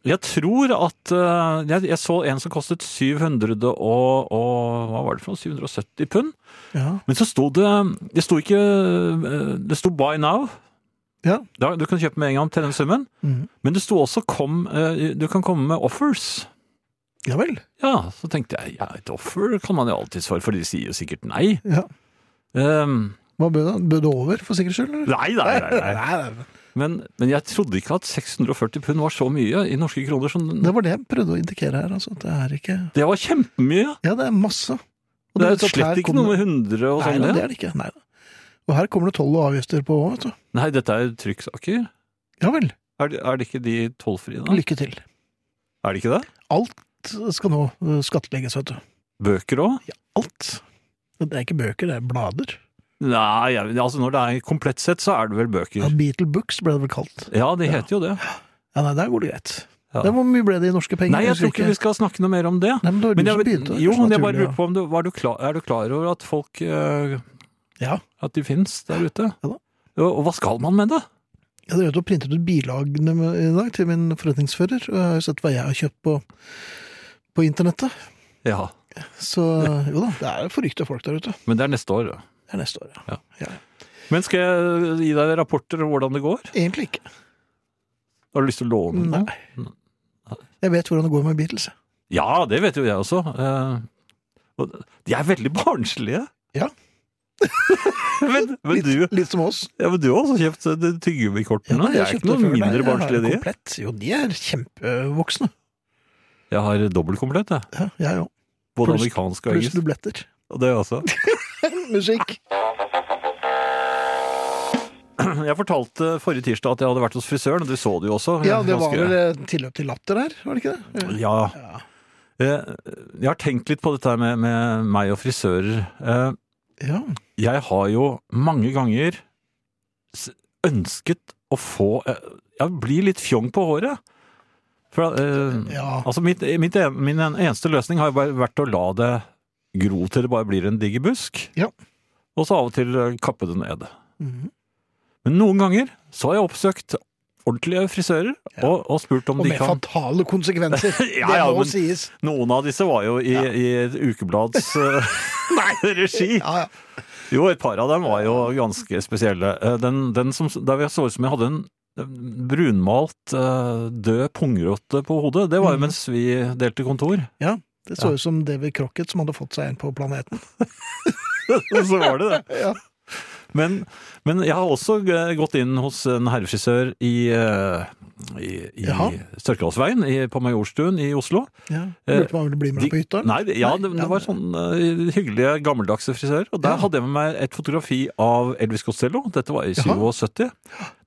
jeg tror at eh, jeg, jeg så en som kostet 700 og, og Hva var det for noe? 770 pund? ja. Men så sto det Det sto ikke eh, Det sto 'buy now'. Ja. Da, du kan kjøpe med en gang til den summen. Mhm. Men det sto også kom, eh, 'du kan komme med offers'. Ja vel. Ja, så tenkte jeg ja, et offer kan man jo alltids for, for de sier jo sikkert nei. Ja. Ehm, Hva bød han? Bød det over, for sikkerhets skyld? eller? nei, nei, nei. nei. Nei, nei. Men, men jeg trodde ikke at 640 pund var så mye i norske kroner. Som, Det var det jeg prøvde å indikere her, altså. at Det er ikke det var kjempemye! Ja, det er masse. Og Det er vet at her slett ikke kommer- noe med 100 og Nei, sånn. da, det. det er det ikke. Nei da. Og her kommer det toll og avgifter på òg, vet du. Nei, dette er trykksaker. Ja vel. Er det, er det ikke de tollfrie, da? Lykke til. Er det ikke det? Alt skal nå eh, skattlegges, vet du. Bøker òg? Alt. Det er ikke bøker, det er blader. Nei, jeg- altså når det er komplett sett, så er det vel Ja, bøker. Beatle Books ble det vel kalt. Ja, de heter jo det. Ja, nei, der går det greit. Ja. Det, hvor mye ble det i norske penger? Nei, jeg Husker tror ikke vi skal snakke noe mer om det. Nei, men det var du Men jeg, som vet- begynte. jo, så men jeg bare naturlig, lurer på om du, var du klar, Er du klar over at folk eh, Ja. At de finnes der ute? Ja da. Og, og hva skal man med det? ja. Jeg drev og printet ut bilagene med- i dag til min forretningsfører, og jeg har jo sett hva jeg har kjøpt på, på internettet. Ja, Så jo da, det er jo forrykta folk der ute. Men det er neste år. da. Det er neste år, ja. Men skal jeg gi deg rapporter om hvordan det går? Egentlig ikke. Har du lyst til å låne den? Nei. Jeg vet hvordan det går med Beatles. jeg. Ja, det vet jo jeg også. Eh, og de er veldig barnslige. Ja. men, men du Litt som oss. ja, men du har også kjøpt eh, de tyggegummikortene. de er jeg ikke kjøpte noe før, nei, mindre jeg har barnslige, de. Komplett. Jo, de er kjempevoksne. Jeg har dobbeltkomplett, jeg. Ja, jeg òg. Både Pluss- amerikansk og Pluss engelsk. dubletter. Og det også. Musikk. Jeg fortalte forrige tirsdag at jeg hadde vært hos frisøren, og du så det jo også. Ja, det var Ganske- vel eh, tilløp til latter her, var det ikke det? Ja. Eh, Jeg har tenkt litt på dette her med, med meg og frisører. Eh, Ja. Jeg har jo mange ganger s- ønsket å få eh, Ja, bli litt fjong på håret. For, eh, Ja. Altså, mitt, mitt, en- min en- eneste løsning har jo bare vært å la det gro til det bare blir en diger busk. Ja. Og så av og til eh, kappe det ned. Mhm. Men noen ganger så har jeg oppsøkt ordentlige frisører og, og spurt om Og de med kan fatale konsekvenser. Ja, det ja, må men- sies. Noen av disse var jo i, i et ukeblads eh, Nei! regi. Ja, ja. Jo, et par av dem var jo ganske spesielle. Eh, Den, den som, der jeg så ut som jeg hadde en brunmalt, eh, død pungrotte på hodet, det Mhm. var jo mens vi delte kontor. Det så ut som David Crocket som hadde fått seg en på planeten. Så var det det. Ja. Men, men jeg har også eh, gått inn hos en herrefrisør i, eh, i, i Jaha. Sørkedalsveien i- på Majorstuen i Oslo. Ja. Lurte på om han ville bli med deg på hytta? Nei, det, ja, Nei, det, ja. det var sånn eh, hyggelige, gammeldagse frisører. Og der Ja. hadde jeg med meg et fotografi av Elvis Costello. Dette var i Jaha. 77.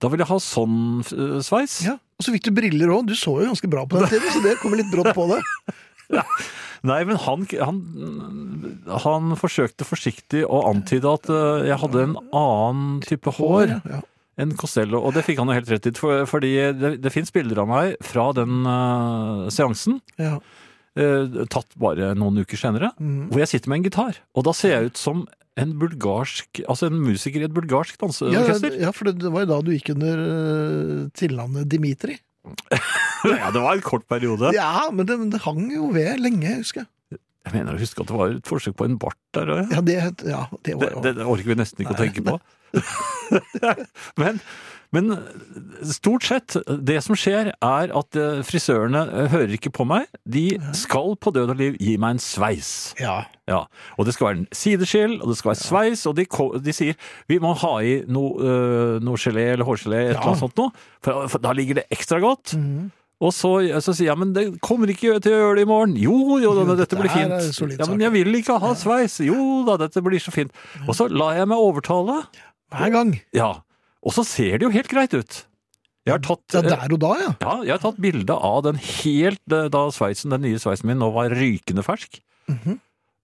Da ville jeg ha sånn eh, sveis. Ja. Og så fikk du briller òg. Du så jo ganske bra på den tiden, så det kommer litt brått på deg. Nei, men han, han, han forsøkte forsiktig å antyde at eh, jeg hadde en annen type hår Ja. enn Costello. Og det fikk han jo helt rett i, for, fordi det, det fins bilder av meg fra den eh, seansen. Ja. eh, tatt bare noen uker senere, Mhm. hvor jeg sitter med en gitar. Og da ser jeg ut som en bulgarsk, altså en musiker i et bulgarsk Ja, danseorkester. ja, for det det var jo da du gikk under eh, tilnavnet Dimitri. Ja, det var en kort periode. Ja, men det, men det hang jo ved lenge, husker jeg. Jeg mener å huske at det var et forsøk på en bart der. og- Ja, det, ja, det var Det, jo det, det orker vi nesten ikke å tenke på. men, men stort sett, det som skjer er at eh, frisørene eh, hører ikke på meg. De skal på død og liv gi meg en sveis. Ja. Ja, og det skal være en sideskill, og det skal være sveis, og de, ko- de sier vi må ha i noe, øh, noe gelé eller hårgelé, et Ja. eller annet sånt noe, for, for da ligger det ekstra godt. Mhm. Og så, så sier jeg, men det kommer ikke til å gjøre det i morgen. Jo, jo, da, Jo, dette blir det her fint. er solid Ja, sak. men jeg vil ikke ha sveis. Jo da, dette blir så fint. Og så lar jeg meg overtale. Hver gang. Ja, og så ser det jo helt greit ut. Jeg har tatt... øh, Ja, der og da, ja. Ja, jeg har tatt bilde av den helt eh, da sveisen, den nye sveisen min nå var rykende fersk. Mhm.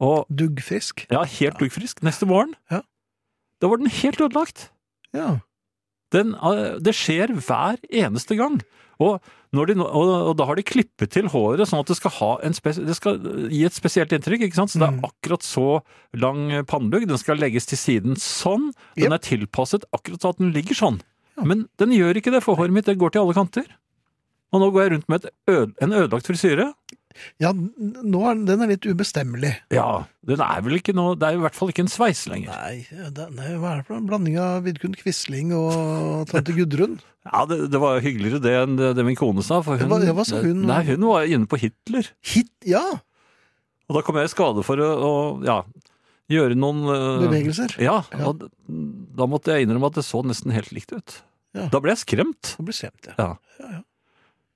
Og Duggfrisk. ja, helt duggfrisk. Neste morgen, Ja. da var den helt ødelagt. Ja. Den, eh, det skjer hver eneste gang. Og, når de, nå- og, og da har de klippet til håret sånn at det skal, ha en spes, det skal gi et spesielt inntrykk. ikke sant? Så det Mm. er akkurat så lang pannelugg. Den skal legges til siden sånn. Den er tilpasset akkurat sånn at den ligger sånn. Ja. Men den gjør ikke det, for håret mitt det går til alle kanter. Og nå går jeg rundt med et øde, en ødelagt frisyre. Ja, n- nå er den- den er litt ubestemmelig. Ja, den er vel ikke noe Det er i hvert fall ikke en sveis lenger. Nei, det, nei, hva er det for en blanding av Vidkun Quisling og tante Gudrun? Ja, det, det var hyggeligere det enn det, det min kone sa. For hun, Hva- ja, hva sa hun? Nei, hun var inne på Hitler. Hit, ja! Og da kom jeg i skade for å, å ja, gjøre noen eh, Bevegelser. Ja, Ja. og d- da måtte jeg innrømme at det så nesten helt likt ut. Ja. Da ble jeg skremt. Så blir stemt, ja.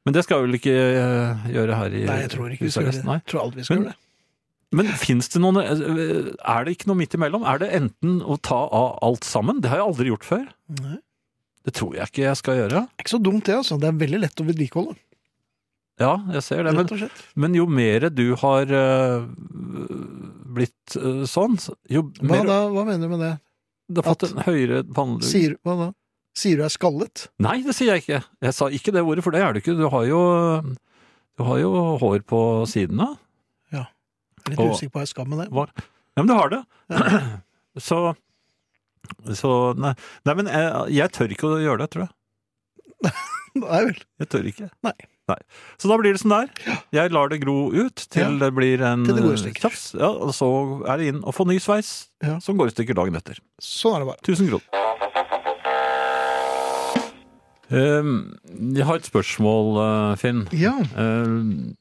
Men det skal jeg vel ikke eh, gjøre her i Nei, jeg tror ikke vi skal gjøre det. Nei. Jeg tror aldri vi skal Men- gjøre det. Men fins det noen eh, Er det ikke noe midt imellom? Er det enten å ta av alt sammen? Det har jeg aldri gjort før. Nei. Det tror jeg ikke jeg skal gjøre. Ikke så dumt det, altså. Det er veldig lett å vedlikeholde. Ja, jeg ser det. Men Rett og slett. Men jo mer du har eh, blitt eh, sånn, jo Hva, mer da, hva mener du med det? Du har fått en høyere pannelugg. Sier, hva da? Sier du jeg er skallet? Nei, det sier jeg ikke. Jeg sa ikke det ordet, for det er du ikke. Du har jo, du har jo hår på sidene. Litt Og- usikker på hva jeg skal med det. Ja, men du har det. Så, så nei. nei, men jeg, jeg tør ikke å gjøre det, tror jeg. Nei vel. Jeg tør ikke. Nei. Så da blir det sånn der. Jeg lar det gro ut til Ja. det blir en Til det går i eh, stykker. tjafs. Ja, og så er det inn og få ny sveis, Ja. som går i stykker dagen etter. Sånn er det bare. 1000 kroner. Ehm, Jeg har et spørsmål, eh, Finn. Ja, Ehm,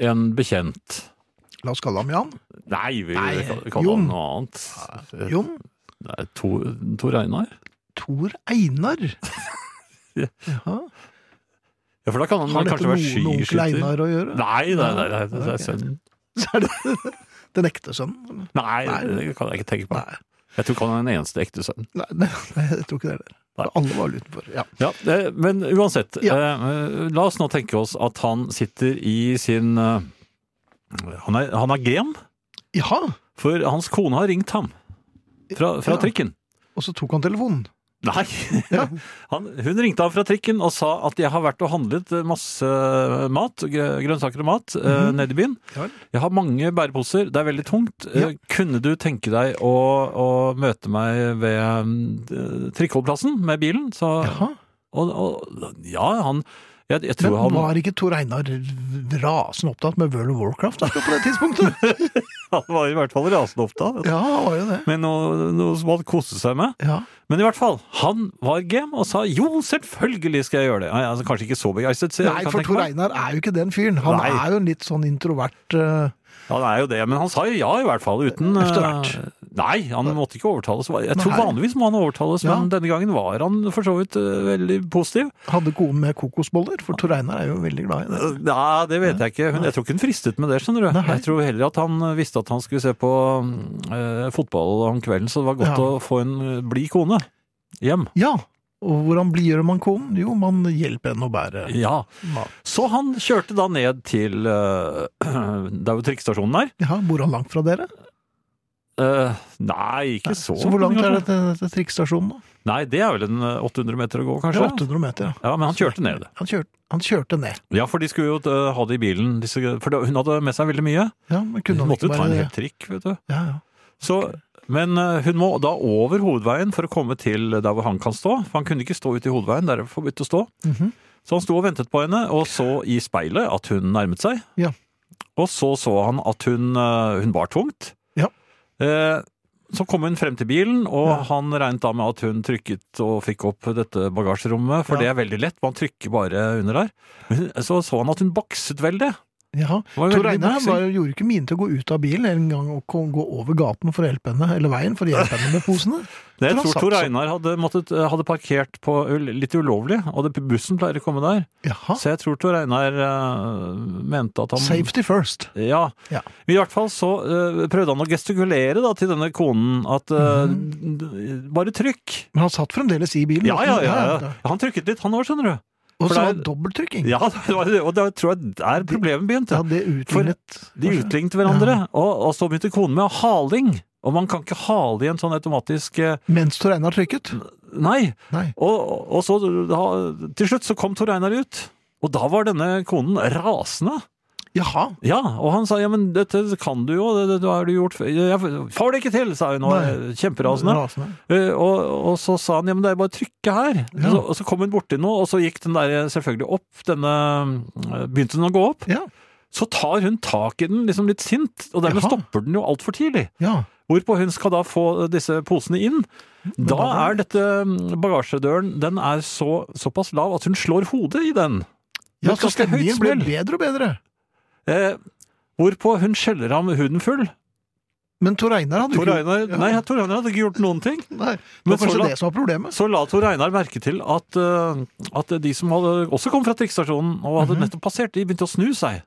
En bekjent la oss kalle ham Jan. Nei, vi Nei, kan kaller Jon. han noe annet. Jon Det er Tor, Tor Einar. Tor Einar. Ja. Jaha. Ja, for da kan han, Har dette kanskje være noe med onkel skiskytter. Einar å gjøre? Nei, nei, nei, nei, det er Ok. sønnen. Så er det den ekte sønnen? Nei, Nei. det kan jeg ikke tenke på. Nei. Jeg tror ikke han er den eneste ekte sønnen. Nei, nei, nei, jeg tror ikke det heller. Nei. Alle var vel utenfor. Ja. Ja, det, men uansett, Ja. eh, la oss nå tenke oss at han sitter i sin eh, Han er, han er gen. Jaha! For hans kone har ringt ham fra, fra Ja. trikken. Og så tok han telefonen. Nei. Han, hun ringte av fra trikken og sa at jeg har vært og handlet masse mat, grø- grønnsaker og mat, eh, nede i byen. Mhm. Ja vel. Jeg har mange bæreposer, det er veldig tungt. Eh, Kunne du tenke deg å, å møte meg ved mm, eh, trikkeholdeplassen med bilen? Så, Jaha. og, og, ja, han jeg, jeg tror Men han var ikke Tor Einar rasende opptatt med World of Warcraft akkurat på det tidspunktet? Han var i hvert fall rasende opptatt. Ja, han var jo det. Men noe, noe som han koste seg med. Ja. Men i hvert fall, han var game og sa jo, selvfølgelig skal jeg gjøre det. Nei, altså, kanskje ikke så begeistret. så jeg Nei, kan for tenke Tor meg. Einar er jo ikke den fyren. Han Nei. er jo en litt sånn introvert eh, Han er jo det, men han sa jo ja i hvert fall uten eh, Etter hvert. Nei, han måtte ikke overtales. Jeg tror Nei. vanligvis må han overtales, men Ja. denne gangen var han for så vidt eh, veldig positiv. Hadde kone med kokosboller, for Tor Einar er jo veldig glad i det. Eh, Nei, det vet jeg ikke. Hun, jeg tror ikke hun fristet med det, skjønner du. Jeg tror heller at han eh, visste at han skulle se på eh, fotball om kvelden, så det var godt Ja. å få en eh, blid kone hjem. Ja, og hvordan blir gjør man konen? Jo, man hjelper henne å bære Ja. mat. Så han kjørte da ned til eh, Det er jo trikkestasjonen der. Ja, bor han langt fra dere? Eh, nei, ikke så Så hvor langt er det til, til trikkstasjonen? da? Nei, det er vel en eh, 800 meter å gå, Det er kanskje? 800 meter, ja. Ja, men han kjørte ned. Han kjørte, han kjørte ned. Ja, for de skulle jo eh, ha det i bilen. Disse, for da- hun hadde med seg veldig mye. Ja, men kunne Hun han måtte ikke jo ta en bare hel trikk, vet du. Ja, ja. Så, men eh, hun må da over hovedveien for å komme til der hvor han kan stå. For han kunne ikke stå ute i hovedveien, der er det forbudt å stå. Mhm. Så han sto og ventet på henne, og så i speilet at hun nærmet seg. Ja. Og så så han at hun, eh, hun bar tungt. Ja. Eh, Så kom hun frem til bilen, og Ja. han regnet da med at hun trykket og fikk opp dette bagasjerommet, for Ja. det er veldig lett, man trykker bare under der. Men hun- Så så han at hun bakset veldig. ja. Det var Tor veldig Einar baksing. var, gjorde ikke mine til å gå ut av bilen en gang og kom- gå over gaten for å hjelpe henne, eller veien for å hjelpe henne med posene. Det Det jeg var tror Tor Saxo. Einar hadde, måttet, eh, hadde parkert på ul- litt ulovlig, og det, bussen pleier å komme der. Jaha. Så jeg tror Tor Einar eh, mente at han Safety first. Ja. Ja. Men I hvert fall så eh, prøvde han å gestikulere da, til denne konen at eh, d- Bare trykk! Men han satt fremdeles i bilen. Ja, ja, ja. ja. da. Han trykket litt, han òg, skjønner du. Og For så det var er- det dobbeltrykking. Ja, det var, det, og da tror jeg der problemet begynte. Ja, det utlignet De kanskje. utlignet hverandre, og, og så begynte konen med haling. Og man kan ikke hale i en sånn automatisk eh, Mens Tor Einar trykket? Nei! Nei. Og, og så da, til slutt så kom Tor Einar ut. Og da var denne konen rasende. Jaha. Ja, og han sa ja, men dette kan du jo, det, det, det har du gjort før. Jeg får det ikke til, sa hun og Nei. var kjemperasende. Eh, Og, og så sa han ja, men det er bare å trykke her. Ja. Så, og så kom hun borti noe, og så gikk den der eh, selvfølgelig opp, denne eh, Begynte den å gå opp. Ja. Så tar hun tak i den liksom litt sint, og dermed Jaha. stopper den jo altfor tidlig. Ja. Hvorpå hun skal da få disse posene inn. Da da- er dette mm, bagasjedøren den er så, såpass lav at hun slår hodet i den. ja, Det er så ganske høyt stemningen ble smell. bedre og bedre. Eh, hvorpå hun skjeller ham huden full. Men Tor Einar hadde jo Tor ikke- Einar, Ja. nei, Tor Einar hadde ikke gjort noen ting. Nei, det Men var så kanskje la- det som var problemet. Så la Tor Einar merke til at, eh, at de som hadde, også kom fra trikkestasjonen og hadde Mhm. nettopp passert, de begynte å snu seg.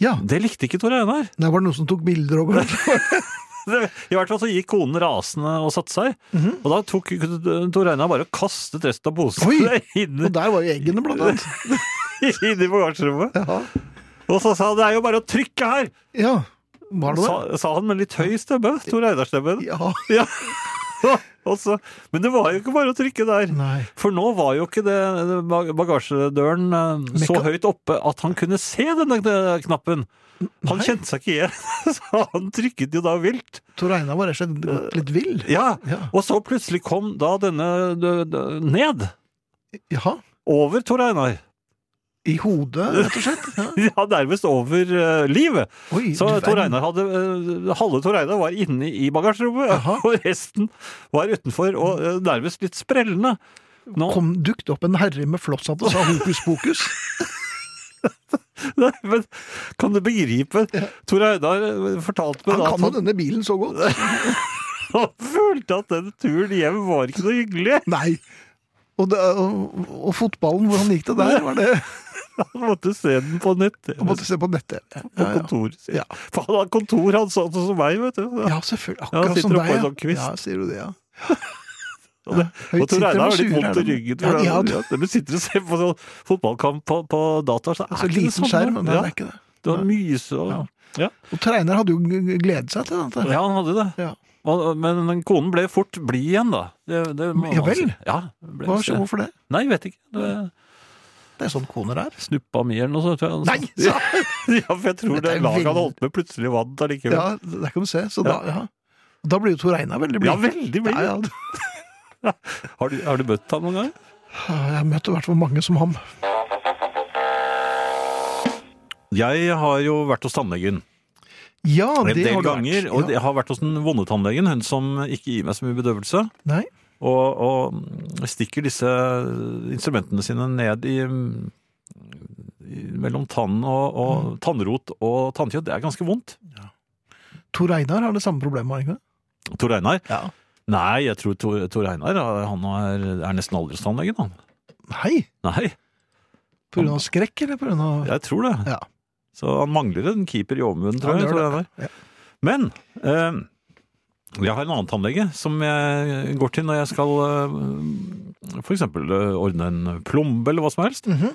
Ja, Det likte ikke Tor Einar. der var det noen som tok bilder og I hvert fall så gikk konen rasende og satte seg. Mhm. Og da tok Tor Einar bare og kastet resten av posene Oi! inn, Og der var jo eggene, blant annet. inn i bagasjerommet. Ja. Og så sa han det er jo bare å trykke her, ja. Var det sa, det? sa han med litt høy stemme. Tor Einar-stemmen. Ja. Og så- Men det var jo ikke bare å trykke der. Nei. For nå var jo ikke det bag- bagasjedøren eh, så Mekka- høyt oppe at han kunne se denne eh, knappen. Han kjente seg ikke igjen, så han trykket jo da vilt. Tor Einar var rett og slett Eh. gått litt vill. Ja, Ja. Og så plutselig kom da denne dø- dø- ned. Jaha. Over Tor Einar. I hodet, rett og slett. Ja. Ja, nærmest over eh, livet. Oi, Så du Tor verden. Einar hadde, eh, halve Tor Einar var inne i bagasjerommet, Jaha. og resten var utenfor, og eh, nærmest litt sprellende. Nå, Kom dukt opp en herre med flosshatt og sa hokus pokus. nei, men kan du begripe? Tor Einar eh, fortalte meg Han da kan at jo han, denne bilen så godt. han følte at den turen hjem var ikke noe hyggelig. Nei. Og, det, og, og fotballen, hvordan gikk det der? Var det Han måtte se den på nett, Jeg måtte se på nettet. på Ja, ja. kontor. Ja. For han har kontor, han sånn som meg, vet du. ja selvfølgelig. Ja, Akkurat sitter som oppå deg. en sånn kvist. Ja, sier du det, ja. Og, det, Ja, og Tor sitter Einar med har litt sure vondt i her, da. ryggen. Ja, For de har han- det. ja, når du sitter og ser på sånn fotballkamp på, på data, så er Så ikke det Altså, liten samme. skjerm, men det Ja, er ikke det. du har myse og Og Treiner hadde jo gledet seg til dette. Ja, han hadde det. Ja. og- Men den konen ble fort blid igjen, da. Det, det må Ja man si. vel? Ja, ble, Hva skjer hvorfor det? Nei, vet ikke. Det Det er sånn koner er. snuppa mi eller noe sånt. tror jeg. Nei! Så, Ja, for jeg tror Dette er det laget han veldig- holdt med, plutselig vant allikevel. ja, der kan du se. Så da, ja. Da blir jo Tor Einar veldig blid. Ja, veldig blid. Ja, ja. Har, du, har du møtt ham noen gang? Jeg har møtt i hvert fall mange som ham. Jeg har jo vært hos tannlegen Ja, en det del har du ganger. vært. Og Ja. jeg har vært hos den vonde tannlegen, hun som ikke gir meg så mye bedøvelse. Nei. og, og mm, stikker disse instrumentene sine ned i, mm, i mellom tann og, og tannrot og tannkjøtt. Det er ganske vondt. Tor Einar har det samme problemet, har han ikke det? Tor Einar? Ja. Nei, jeg tror Tor, Tor Einar han er, er nesten aldri hos tannlegen, han. Nei! Nei, På grunn av skrekk, eller på grunn av jeg tror det. Ja. Så han mangler en keeper i overmunnen, tror Han jeg. gjør Tor det. Einar. Ja. Men eh, jeg har en annen tannlege som jeg går til når jeg skal eh, for eksempel eh, ordne en plombe eller hva som helst. Mhm.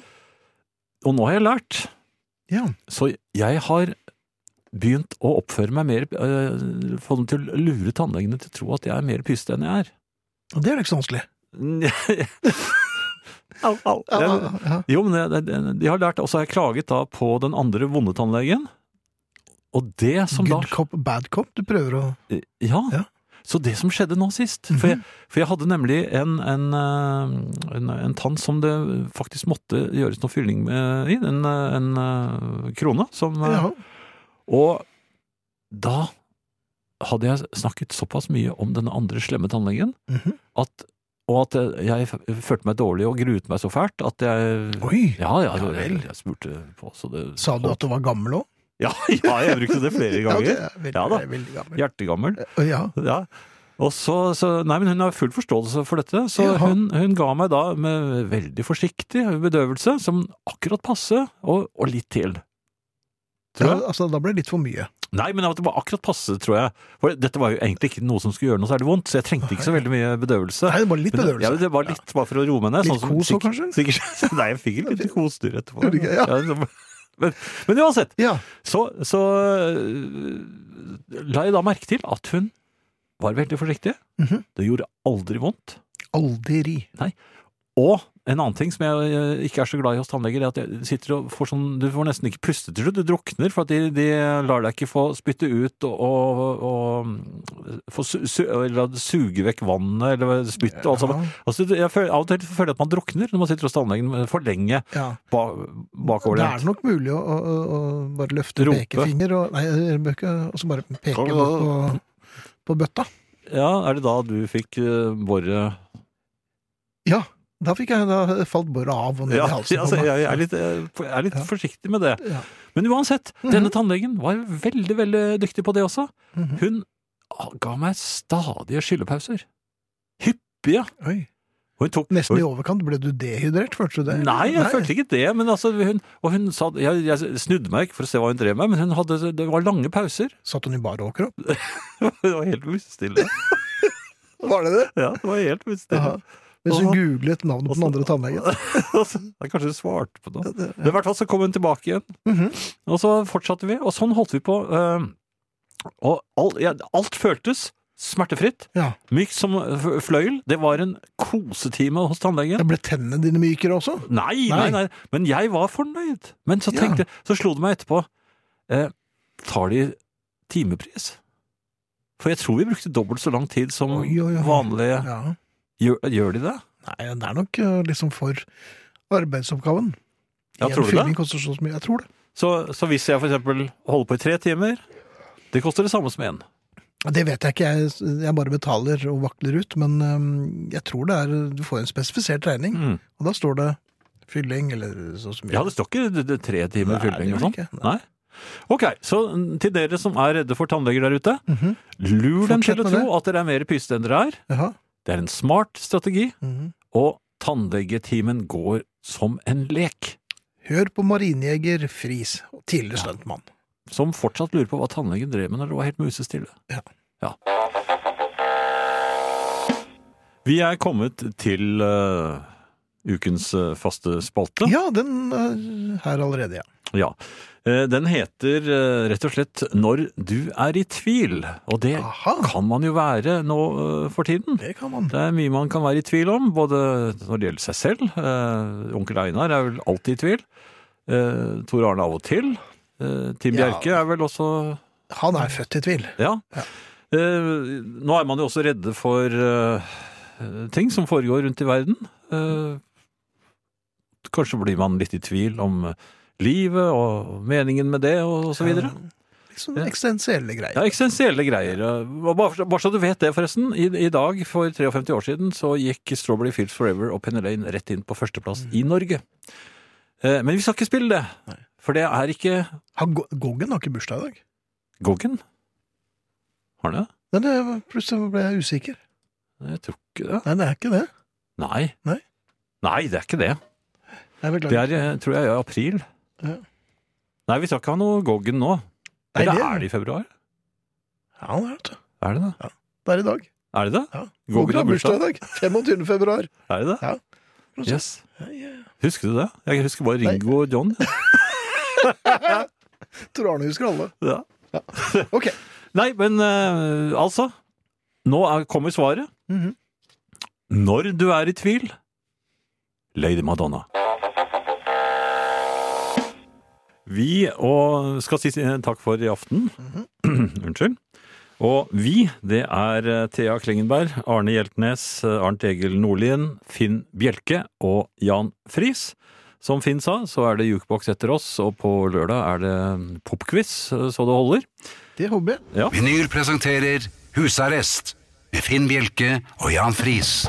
Og nå har jeg lært Ja. Så jeg har begynt å oppføre meg mer øh, Få dem til å lure tannlegene til å tro at jeg er mer pyste enn jeg er. Og det er jo ikke så vanskelig. au, au. Ja, Jeg, ja. jo, men det, det, de har lært, og så har jeg klaget da på den andre vonde tannlegen. Og det som Good da cop, bad cop. Du prøver å Ja. Ja. Mhm. Så det som skjedde nå sist For jeg, for jeg hadde nemlig en, en, eh, en, en tann som det faktisk måtte gjøres noe fylling med i. En, eh, en eh, krone som eh, ja. Og da hadde jeg snakket såpass mye om denne andre slemme tannlegen, Mhm. at, og at jeg f- følte meg dårlig og gruet meg så fælt at jeg Oi! Ja, ja, Ja jeg, vel. jeg spurte på, så det Sa du at du var gammel òg? Ja, ja jeg brukte det flere ganger. Ja, det er veldig, Ja da. veldig gammel. Hjertegammel. Ja. Ja. Og så, så, nei, men Hun har full forståelse for dette, så Jaha. hun, hun ga meg da med veldig forsiktig bedøvelse, som akkurat passe, og, og litt til. ja, Tror jeg. altså, da ble det litt for mye. Nei, men det var akkurat passe, tror jeg. For dette var jo egentlig ikke noe som skulle gjøre noe særlig vondt, så jeg trengte ikke så veldig mye bedøvelse. Nei, det var litt Men det- bedøvelse. Ja, det var litt bare for å roe meg ned. sånn Litt som kos også, sikkert- Sikkert, nei, jeg fikk litt kosdyr etterpå. Gjorde du ikke? Ja. så- men, men uansett, Ja. så, så øh, la jeg da merke til at hun var veldig forsiktig. Mhm. Det gjorde aldri vondt. Aldri. Og en annen ting som jeg øh, ikke er så glad i hos tannleger, er at jeg sitter og får sånn Du får nesten ikke puste til slutt, du drukner, for at de, de lar deg ikke få spytte ut og, og, og få su, su, eller suge vekk vannet eller spyttet og alt sammen. Altså, jeg føler, av og til føler jeg at man drukner når man sitter hos tannlegen for lenge Ja. ba, Det er bakoverlent. nok mulig å, å, å å bare løfte Rope. pekefinger og, nei, jeg bør ikke, og så bare peke bort på, på bøtta. Ja, er det da du fikk uh, boret Ja, da, fikk jeg, da falt båret av og ned Ja, i halsen. ja, altså, på meg. jeg, jeg er litt, jeg er litt Ja. forsiktig med det. Ja. Men uansett, denne tannlegen var veldig, veldig dyktig på det også. Mhm. Hun ga meg stadige skyllepauser. Hyppige. Oi. Og hun tok Nesten i overkant. Ble du dehydrert, følte du det? Nei, jeg følte ikke det, men altså hun, Og hun sa jeg, jeg snudde meg ikke for å se hva hun drev med, men hun hadde, det var lange pauser. Satt hun i bar overkropp? Det var helt ustille. Var det det? Ja, det var helt Jaha. ustille. Mens hun Aha. googlet navnet på den andre tannlegen. Altså, Kanskje hun svarte på noe. Ja, det- Men i hvert fall så kom hun tilbake igjen. Mhm. Og så fortsatte vi, og sånn holdt vi på. eh, og all, ja, alt føltes smertefritt. Ja. Mykt som f- fløyel. Det var en kosetime hos tannlegen. Ja, Ble tennene dine mykere også? Nei, nei, Nei. nei. Men jeg var fornøyd. Men så Ja. tenkte så slo det meg etterpå. Eh, tar de timepris? For jeg tror vi brukte dobbelt så lang tid som Oi, oi, oi. vanlige. Ja. Gjør, gjør de det? Nei, det er nok eh, liksom for arbeidsoppgaven. Ja, En tror du det? fylling koster så mye. Jeg tror det. Så, så hvis jeg for eksempel holder på i tre timer, det koster det samme som én. Det vet jeg ikke, jeg, jeg bare betaler og vakler ut, men eh, jeg tror det er Du får en spesifisert regning, Mm. og da står det fylling eller så så mye. Ja, det står ikke d- d- tre timer Nei, fylling og det gjør sånn. det ikke. Nei. Ok, så mm, til dere som er redde for tannleger der ute, lur dem til Mhm. Fortsett å med tro at dere er mer pyste enn dere er. Jaha. Det er en smart strategi, Mhm. og tannlegetimen går som en lek. Hør på marinejeger Friis, tidligere stuntmann. Som fortsatt lurer på hva tannlegen drev med når det var helt musestille. Ja. Ja. Vi er kommet til eh, ukens eh, faste spalte. Ja, den er eh, her allerede, ja. Ja. Eh, Den heter eh, rett og slett Når du er i tvil, og det Aha. kan man jo være nå eh, for tiden. Det kan man. Det er mye man kan være i tvil om, både når det gjelder seg selv. Eh, onkel Einar er vel alltid i tvil. Eh, Tor Arne av og til. Eh, Tim Ja. Bjerke er vel også Han er født i tvil. Ja. Eh, nå er man jo også redde for eh, ting som foregår rundt i verden. Eh, kanskje blir man litt i tvil om eh, livet og meningen med det, og, og så videre. Liksom Ja. eksistensielle Ja, greier. Eksistensielle greier. Og Bare, bare så du vet det, forresten. I, I dag, for 53 år siden, så gikk Strawberry Fields Forever og Penny Lane rett inn på førsteplass i Norge. Eh, men vi skal ikke spille det, for det er ikke Han, Go- Goggen har ikke bursdag i dag. Goggen. Har den det? Nei, det- eh, plutselig ble jeg usikker. Jeg tror ikke det. Nei, det er ikke det. Nei. Nei. Nei, det er ikke det. Jeg Det beklager. er, eh, tror jeg, i april. Ja. Nei, vi skal ikke ha noe Goggen nå. Nei, Eller det- er det i februar? Ja, han er det. vet du. Er det det? Det er i dag. Er det det? Ja. Goggen har bursdag. i dag. 25. februar. Er det det? Ja. Yes. Ja, ja. Husker du det? Jeg husker bare Nei. Ringo og John. Tror Arne husker alle. Ja. Ok. Nei, men eh, altså Nå er, kommer svaret. Mhm. Når du er i tvil Lady Madonna. Vi og skal si eh, takk for i aften. Unnskyld. Og vi, det er eh, Thea Klingenberg, Arne Hjeltnes, eh, Arnt Egil Nordlien, Finn Bjelke og Jan Friis. Som Finn sa, så er det jukebox etter oss, og på lørdag er det popquiz eh, så det holder. Det håper jeg. Vinyl presenterer Husarrest med Finn Bjelke og Jan Friis.